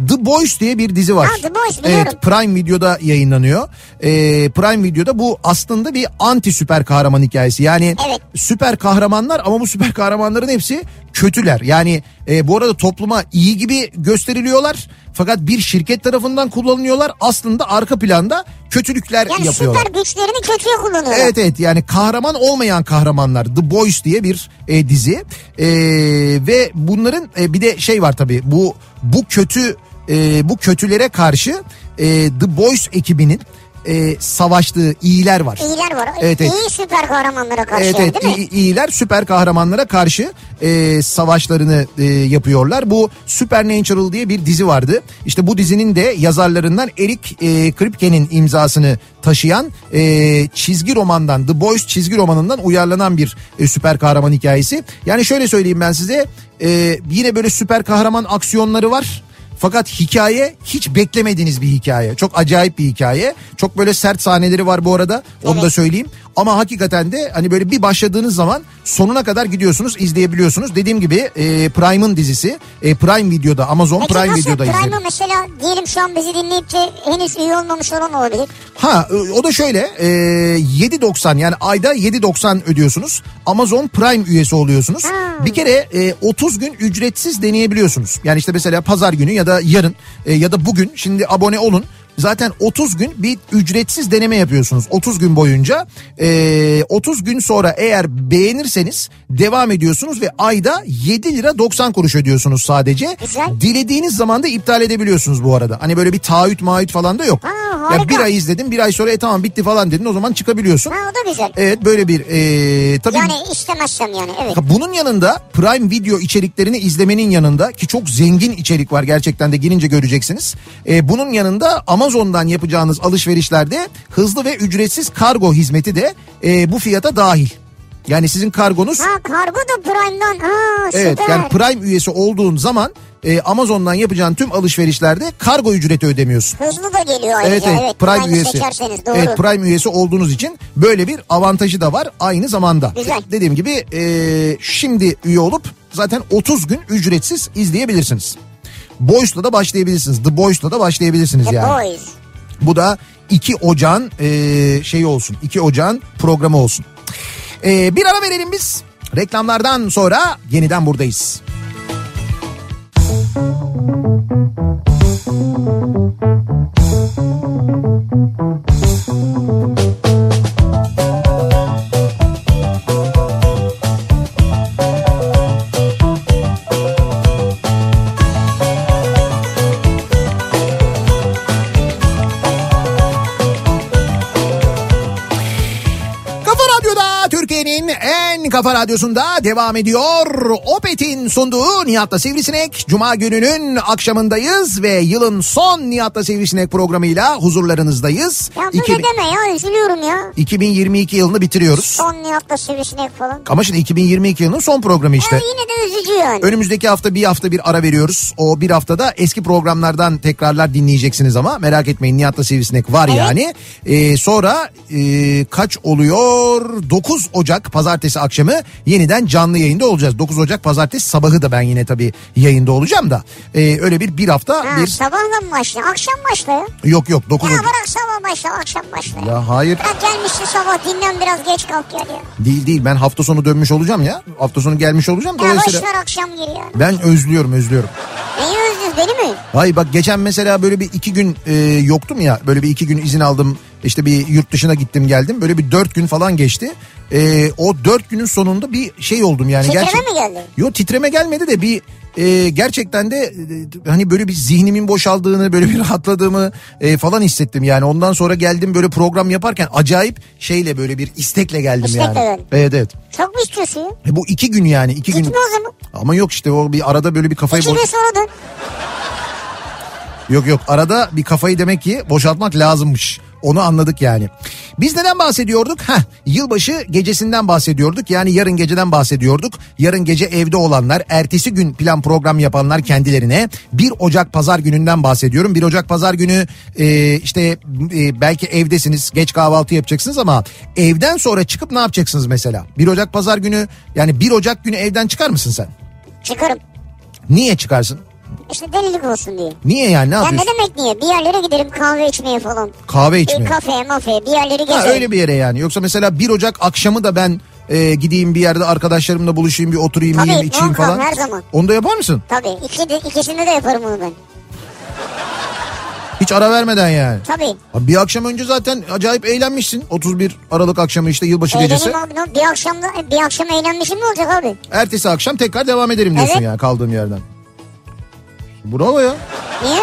S3: The Boys diye bir dizi var.
S4: Ha, The Boys, biliyorum.
S3: evet Prime Video'da yayınlanıyor. Ee, Prime Video'da bu aslında bir anti süper kahraman hikayesi. Yani
S4: Evet.
S3: süper kahramanlar ama bu süper kahramanların hepsi kötüler. Yani e, bu arada topluma iyi gibi gösteriliyorlar. Fakat bir şirket tarafından kullanılıyorlar. Aslında arka planda kötülükler
S4: Yani
S3: yapıyorlar.
S4: süper güçlerini kötüye kullanıyorlar.
S3: Evet evet yani kahraman olmayan kahramanlar The Boys diye bir e, dizi E, ve bunların e, bir de şey var tabii bu bu kötü e, bu kötülere karşı e, The Boys ekibinin e, savaştığı iyiler var.
S4: İyiler var.
S3: Evet, evet.
S4: İyi süper kahramanlara karşı
S3: Evet,
S4: yani,
S3: evet
S4: şey, değil mi?
S3: iyi- iyiler süper kahramanlara karşı e, savaşlarını e, yapıyorlar. Bu Supernatural diye bir dizi vardı. İşte bu dizinin de yazarlarından Eric e, Kripke'nin imzasını taşıyan e, çizgi romandan The Boys çizgi romanından uyarlanan bir e, süper kahraman hikayesi. Yani şöyle söyleyeyim ben size e, yine böyle süper kahraman aksiyonları var. Fakat hikaye hiç beklemediğiniz bir hikaye. Çok acayip bir hikaye. Çok böyle sert sahneleri var bu arada. Onu da söyleyeyim. Ama hakikaten de hani böyle bir başladığınız zaman sonuna kadar gidiyorsunuz, izleyebiliyorsunuz. Dediğim gibi e, Prime'ın dizisi e, Prime Video'da, Amazon
S4: Peki
S3: Prime
S4: nasıl
S3: Video'da izleyin.
S4: Prime'ı mesela diyelim şu an bizi dinleyip de henüz üye olmamış olan olabilir.
S3: Ha e, o da şöyle e, 7.90 yani ayda 7.90 ödüyorsunuz. Amazon Prime üyesi oluyorsunuz.
S4: Ha.
S3: Bir kere e, 30 gün ücretsiz deneyebiliyorsunuz. Yani işte mesela pazar günü ya da yarın e, ya da bugün şimdi abone olun. Zaten 30 gün bir ücretsiz deneme yapıyorsunuz 30 gün boyunca. E, 30 gün sonra eğer beğenirseniz devam ediyorsunuz ve ayda 7 lira 90 kuruş ödüyorsunuz sadece.
S4: Güzel.
S3: Dilediğiniz zaman da iptal edebiliyorsunuz bu arada. Hani böyle bir taahhüt maahhüt falan da yok.
S4: Aa,
S3: ya
S4: harika.
S3: bir ay izledin bir ay sonra e tamam bitti falan dedin o zaman çıkabiliyorsun.
S4: Ha o da güzel.
S3: Evet böyle bir e, tabii
S4: yani istemezsem yani evet.
S3: Ha, Bunun yanında Prime Video içeriklerini izlemenin yanında ki çok zengin içerik var gerçekten de girince göreceksiniz. E, bunun yanında Amazon'dan yapacağınız alışverişlerde hızlı ve ücretsiz kargo hizmeti de e, bu fiyata dahil. Yani sizin kargonuz
S4: Ha kargo da Prime'dan. Ha süper.
S3: Evet yani Prime üyesi olduğun zaman e, Amazon'dan yapacağın tüm alışverişlerde kargo ücreti ödemiyorsun.
S4: Hızlı da geliyor
S3: Evet,
S4: ayrıca.
S3: evet, Prime
S4: Prime'ı
S3: üyesi.
S4: seçerseniz doğru.
S3: Evet Prime üyesi olduğunuz için böyle bir avantajı da var aynı zamanda.
S4: Güzel.
S3: Dediğim gibi e, şimdi üye olup zaten 30 gün ücretsiz izleyebilirsiniz. Boys'la da başlayabilirsiniz. The Boys'la da başlayabilirsiniz
S4: The
S3: yani.
S4: Boys.
S3: Bu da 2 Ocağın e, şeyi olsun. 2 Ocağın programı olsun. E, bir ara verelim biz. Reklamlardan sonra yeniden buradayız. Kafa Radyo'da Türkiye'nin en kafa radyosunda devam ediyor. Opet'in sunduğu Nihat'la Sivrisinek. Cuma gününün akşamındayız ve yılın son Nihat'la Sivrisinek programıyla huzurlarınızdayız.
S4: Ya böyle
S3: İki-
S4: deme ya üzülüyorum ya.
S3: 2022 yılını bitiriyoruz.
S4: Son Nihat'la sivrisinek falan.
S3: Ama şimdi 2022 yılının son programı işte.
S4: Ya yine de üzücü yani.
S3: Önümüzdeki hafta bir hafta bir ara veriyoruz. O bir haftada eski programlardan tekrarlar dinleyeceksiniz ama merak etmeyin Nihat'la Sivrisinek var
S4: Evet.
S3: yani. Ee, sonra e, kaç oluyor? 9 Ocak pazartesi akşamı akşamı yeniden canlı yayında olacağız. 9 Ocak pazartesi sabahı da ben yine tabii yayında olacağım da. E, öyle bir bir hafta
S4: Ha,
S3: bir...
S4: sabahla mı başlıyor? Akşam başlıyor.
S3: Yok yok 9
S4: Ya
S3: Ocak.
S4: bırak sabah başla akşam başla. Ya.
S3: Ya hayır
S4: Bırak gelmişsin sabah dinlen biraz geç kalk ya diyor.
S3: değil değil ben hafta sonu dönmüş olacağım ya. Hafta sonu gelmiş olacağım.
S4: Ya boş
S3: Dolayısıyla
S4: ver akşam giriyor.
S3: ben özlüyorum özlüyorum.
S4: Neyi özlüyorsun beni mi?
S3: Hayır bak geçen mesela böyle bir iki gün e, yoktum ya böyle bir iki gün izin aldım işte bir yurt dışına gittim geldim böyle bir dört gün falan geçti. E, o dört günün sonunda bir şey oldum yani.
S4: Titreme
S3: gerçek-
S4: mi geldi?
S3: Yo titreme gelmedi de bir e, gerçekten de e, hani böyle bir zihnimin boşaldığını böyle bir rahatladığımı e, falan hissettim yani ondan sonra geldim böyle program yaparken acayip şeyle böyle bir istekle geldim
S4: İstekle
S3: yani.
S4: geldin.
S3: Evet evet.
S4: Çok mu istiyorsun ya?
S3: E, bu iki gün yani iki gün.
S4: Gitme o zaman.
S3: Ama yok işte o bir arada böyle bir kafayı
S4: İki
S3: boş...
S4: gün sonra dön.
S3: Yok yok arada bir kafayı demek ki boşaltmak lazımmış. Onu anladık yani. Biz neden bahsediyorduk? Heh, yılbaşı gecesinden bahsediyorduk. Yani yarın geceden bahsediyorduk. Yarın gece evde olanlar, ertesi gün plan program yapanlar kendilerine 1 Ocak pazar gününden bahsediyorum. 1 Ocak pazar günü e, işte e, belki evdesiniz, geç kahvaltı yapacaksınız ama evden sonra çıkıp ne yapacaksınız mesela? 1 Ocak pazar günü yani 1 Ocak günü evden çıkar mısın sen?
S4: Çıkarım.
S3: Niye çıkarsın?
S4: İşte delilik olsun diye.
S3: Niye yani ne
S4: Ya ne
S3: yapıyorsun?
S4: demek niye? Bir yerlere giderim kahve içmeye falan.
S3: Kahve
S4: E,
S3: içmeye.
S4: kafeye mafeye bir yerleri
S3: Ha,
S4: gezerim.
S3: öyle bir yere yani. Yoksa mesela 1 Ocak akşamı da ben e, gideyim bir yerde arkadaşlarımla buluşayım bir oturayım
S4: Tabii,
S3: yiyeyim içeyim
S4: muhakkak,
S3: falan.
S4: her zaman.
S3: Onu da yapar mısın?
S4: Tabii iki de, ikisinde de yaparım onu ben.
S3: Hiç ara vermeden yani.
S4: Tabii.
S3: Abi Bir akşam önce zaten acayip eğlenmişsin. 31 Aralık akşamı işte yılbaşı gecesi.
S4: Eğlenim abi. ne- Bir akşam, bir akşam eğlenmişim ne olacak abi?
S3: Ertesi akşam tekrar devam ederim diyorsun
S4: Evet.
S3: yani kaldığım yerden. Bravo ya.
S4: Niye?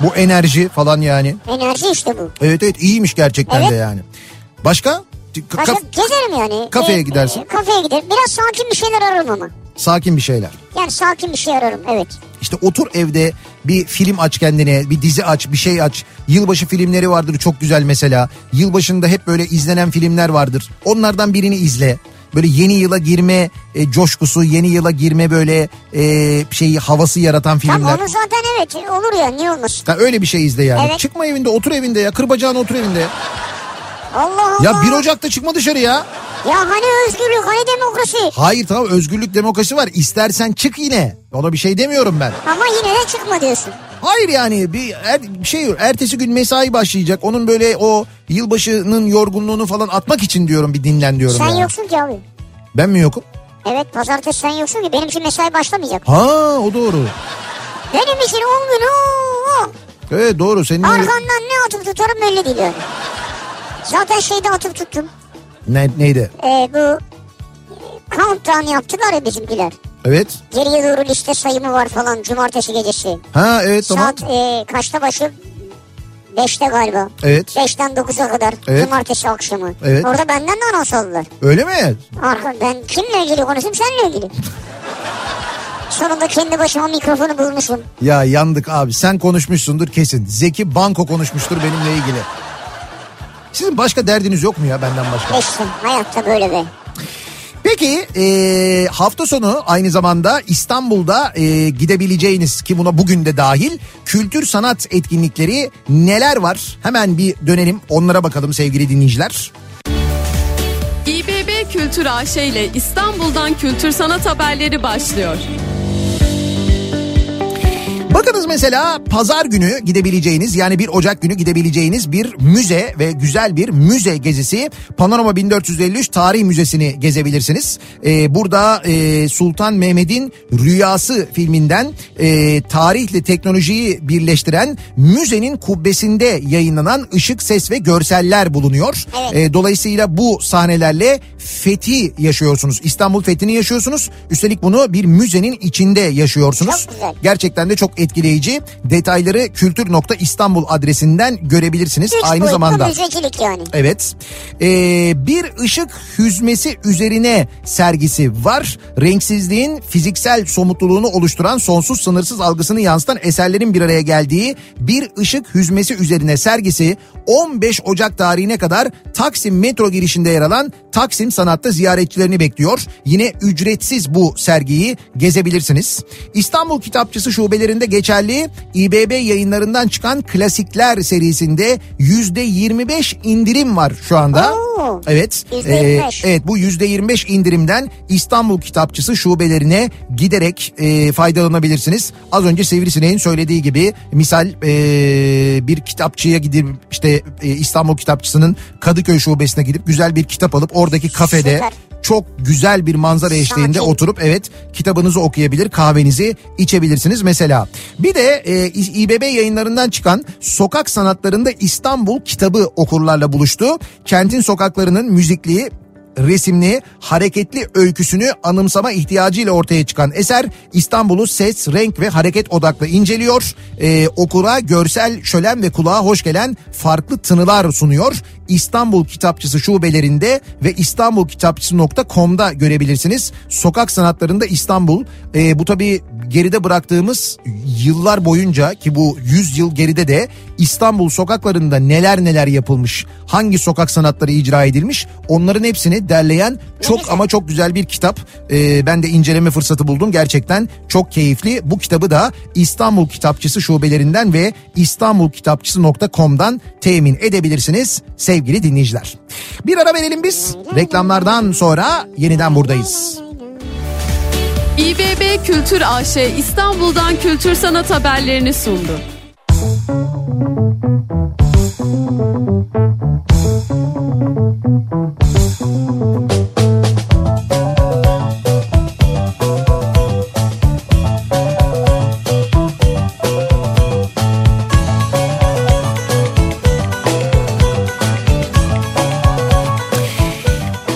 S3: Bu enerji falan yani.
S4: Enerji işte bu.
S3: Evet evet iyiymiş gerçekten
S4: Evet.
S3: de yani. Başka? Ka-
S4: Başka
S3: ka-
S4: gezerim yani.
S3: Kafeye
S4: E,
S3: gidersin.
S4: e, kafeye giderim. Biraz sakin bir şeyler ararım ama.
S3: sakin bir şeyler.
S4: Yani sakin bir şey ararım evet.
S3: İşte otur evde bir film aç kendine, bir dizi aç, bir şey aç. Yılbaşı filmleri vardır çok güzel mesela. Yılbaşında hep böyle izlenen filmler vardır. Onlardan birini izle. Böyle yeni yıla girme e, coşkusu, yeni yıla girme böyle e, şeyi havası yaratan
S4: Tamam
S3: filmler.
S4: onu zaten evet olur ya niye olmasın?
S3: Ha, öyle bir şey izle yani.
S4: Evet.
S3: Çıkma evinde, otur evinde ya. Kırbacağına otur evinde. ya.
S4: Allah Allah.
S3: Ya 1 Ocak'ta çıkma dışarı ya.
S4: Ya hani özgürlük hani demokrasi.
S3: Hayır tamam özgürlük demokrasi var. İstersen çık yine. Ona bir şey demiyorum ben.
S4: Ama yine de çıkma diyorsun.
S3: Hayır yani bir, er- bir şey yok. Ertesi gün mesai başlayacak. Onun böyle o yılbaşının yorgunluğunu falan atmak için diyorum bir dinlen diyorum.
S4: Sen
S3: yani.
S4: yoksun ki abi.
S3: Ben mi yokum?
S4: Evet pazartesi sen yoksun ki benim için mesai başlamayacak.
S3: Ha o doğru.
S4: Benim için 10 gün ooo.
S3: Evet doğru senin
S4: Arkandan ne atıp tutarım belli değil yani. Zaten şeyde atıp tuttum.
S3: ne, neydi?
S4: Ee, bu e, countdown yaptılar ya bizimkiler.
S3: Evet.
S4: Geriye doğru liste sayımı var falan cumartesi gecesi.
S3: Ha evet tamam.
S4: Saat e, kaçta başı? 5'te galiba.
S3: Evet.
S4: 5'ten 9'a kadar
S3: Evet.
S4: cumartesi akşamı.
S3: Evet.
S4: Orada benden de anons aldılar.
S3: Öyle mi?
S4: Arka, ben kimle ilgili konuşayım seninle ilgili. Sonunda kendi başıma mikrofonu bulmuşum.
S3: Ya yandık abi. Sen konuşmuşsundur kesin. Zeki Banko konuşmuştur benimle ilgili. Sizin başka derdiniz yok mu ya benden başka?
S4: Geçtim hayatta böyle be.
S3: Peki e, hafta sonu aynı zamanda İstanbul'da e, gidebileceğiniz ki buna bugün de dahil kültür sanat etkinlikleri neler var? Hemen bir dönelim onlara bakalım sevgili dinleyiciler.
S5: İBB Kültür AŞ ile İstanbul'dan kültür sanat haberleri başlıyor.
S3: Bakınız mesela pazar günü gidebileceğiniz yani 1 Ocak günü gidebileceğiniz bir müze ve güzel bir müze gezisi Panorama 1453 Tarih Müzesi'ni gezebilirsiniz. Ee, burada e, Sultan Mehmet'in Rüyası filminden e, tarihle teknolojiyi birleştiren müzenin kubbesinde yayınlanan ışık, ses ve görseller bulunuyor. Ee, dolayısıyla bu sahnelerle fethi yaşıyorsunuz. İstanbul fethini yaşıyorsunuz. Üstelik bunu bir müzenin içinde yaşıyorsunuz.
S4: Çok güzel.
S3: Gerçekten de çok etkileyici. Detayları kültür.istanbul adresinden görebilirsiniz.
S4: Üç
S3: Aynı
S4: boyutlu
S3: zamanda
S4: müzecilik yani.
S3: Evet. Ee, bir ışık hüzmesi üzerine sergisi var. Renksizliğin fiziksel somutluluğunu oluşturan sonsuz sınırsız algısını yansıtan eserlerin bir araya geldiği bir ışık hüzmesi üzerine sergisi 15 Ocak tarihine kadar Taksim metro girişinde yer alan Taksim Sanat'ta ziyaretçilerini bekliyor. Yine ücretsiz bu sergiyi gezebilirsiniz. İstanbul Kitapçısı şubelerinde geçerli özelliği İBB yayınlarından çıkan klasikler serisinde yüzde 25 indirim var şu anda.
S4: Oo.
S3: Evet.
S4: Yüzde
S3: Ee,
S4: 25.
S3: evet bu yüzde 25 indirimden İstanbul Kitapçısı şubelerine giderek e, faydalanabilirsiniz. Az önce Sivrisineğin söylediği gibi misal e, bir kitapçıya gidip işte e, İstanbul Kitapçısı'nın Kadıköy şubesine gidip güzel bir kitap alıp oradaki kafede
S4: Süper.
S3: çok güzel bir manzara eşliğinde
S4: Sakin.
S3: oturup evet kitabınızı okuyabilir kahvenizi içebilirsiniz mesela. Bir de e, İ- İBB yayınlarından çıkan Sokak Sanatlarında İstanbul kitabı okurlarla buluştu. Kentin sokaklarının müzikliği resimli, hareketli öyküsünü anımsama ihtiyacıyla ortaya çıkan eser İstanbul'u ses, renk ve hareket odaklı inceliyor. Ee, okura görsel, şölen ve kulağa hoş gelen farklı tınılar sunuyor. İstanbul Kitapçısı şubelerinde ve istanbulkitapçısı.com'da görebilirsiniz. Sokak sanatlarında İstanbul. Ee, bu tabii geride bıraktığımız yıllar boyunca ki bu 100 yıl geride de İstanbul sokaklarında neler neler yapılmış, hangi sokak sanatları icra edilmiş onların hepsini derleyen çok ama çok güzel bir kitap. Ee, ben de inceleme fırsatı buldum. Gerçekten çok keyifli. Bu kitabı da İstanbul Kitapçısı şubelerinden ve istanbulkitapçısı.com'dan temin edebilirsiniz sevgili dinleyiciler. Bir ara verelim biz. Reklamlardan sonra yeniden buradayız.
S5: İBB Kültür AŞ İstanbul'dan kültür sanat haberlerini sundu.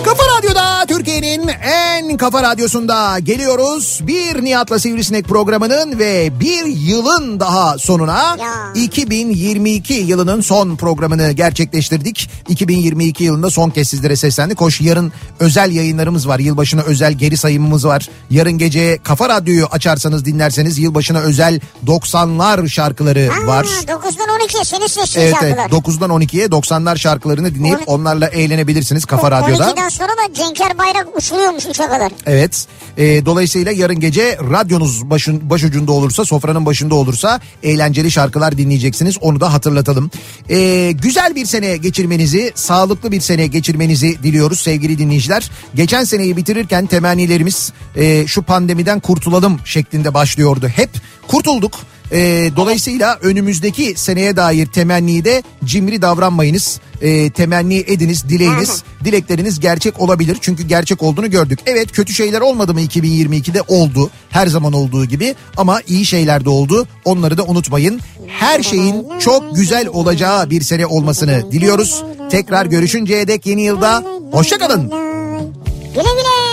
S3: Kafa Radyo'da Türkiye'nin en kafa radyosunda geliyoruz. Bir Nihat'la Sivrisinek programının ve bir yılın daha sonuna
S4: Ya.
S3: 2022 yılının son programını gerçekleştirdik. 2022 yılında son kez sizlere seslendik. Hoş yarın özel yayınlarımız var. Yılbaşına özel geri sayımımız var. Yarın gece Kafa Radyo'yu açarsanız dinlerseniz yılbaşına özel 90'lar şarkıları var.
S4: 9'dan 12'ye senin sesini
S3: Evet, evet
S4: çaldılar.
S3: 9'dan 12'ye 90'lar şarkılarını dinleyip
S4: On-
S3: onlarla eğlenebilirsiniz Kafa Radyo'da.
S4: 12'den sonra da Cenker Bayrak uçuruyormuş uça kadar.
S3: Evet. E, dolayısıyla yarın gece radyonuz başın, başucunda olursa, sofranın başında olursa eğlenceli şarkılar dinleyeceksiniz. Onu da hatırlatalım. E, güzel bir sene geçirmenizi, sağlıklı bir sene geçirmenizi diliyoruz sevgili dinleyiciler. Geçen seneyi bitirirken temennilerimiz e, şu pandemiden kurtulalım şeklinde başlıyordu. Hep kurtulduk. Ee, dolayısıyla önümüzdeki seneye dair temenniyi de cimri davranmayınız. Ee, temenni ediniz, dileyiniz. Dilekleriniz gerçek olabilir. Çünkü gerçek olduğunu gördük. Evet kötü şeyler olmadı mı 2022'de? Oldu. Her zaman olduğu gibi. Ama iyi şeyler de oldu. Onları da unutmayın. Her şeyin çok güzel olacağı bir sene olmasını diliyoruz. Tekrar görüşünceye dek yeni yılda. Hoşçakalın.
S4: Güle güle.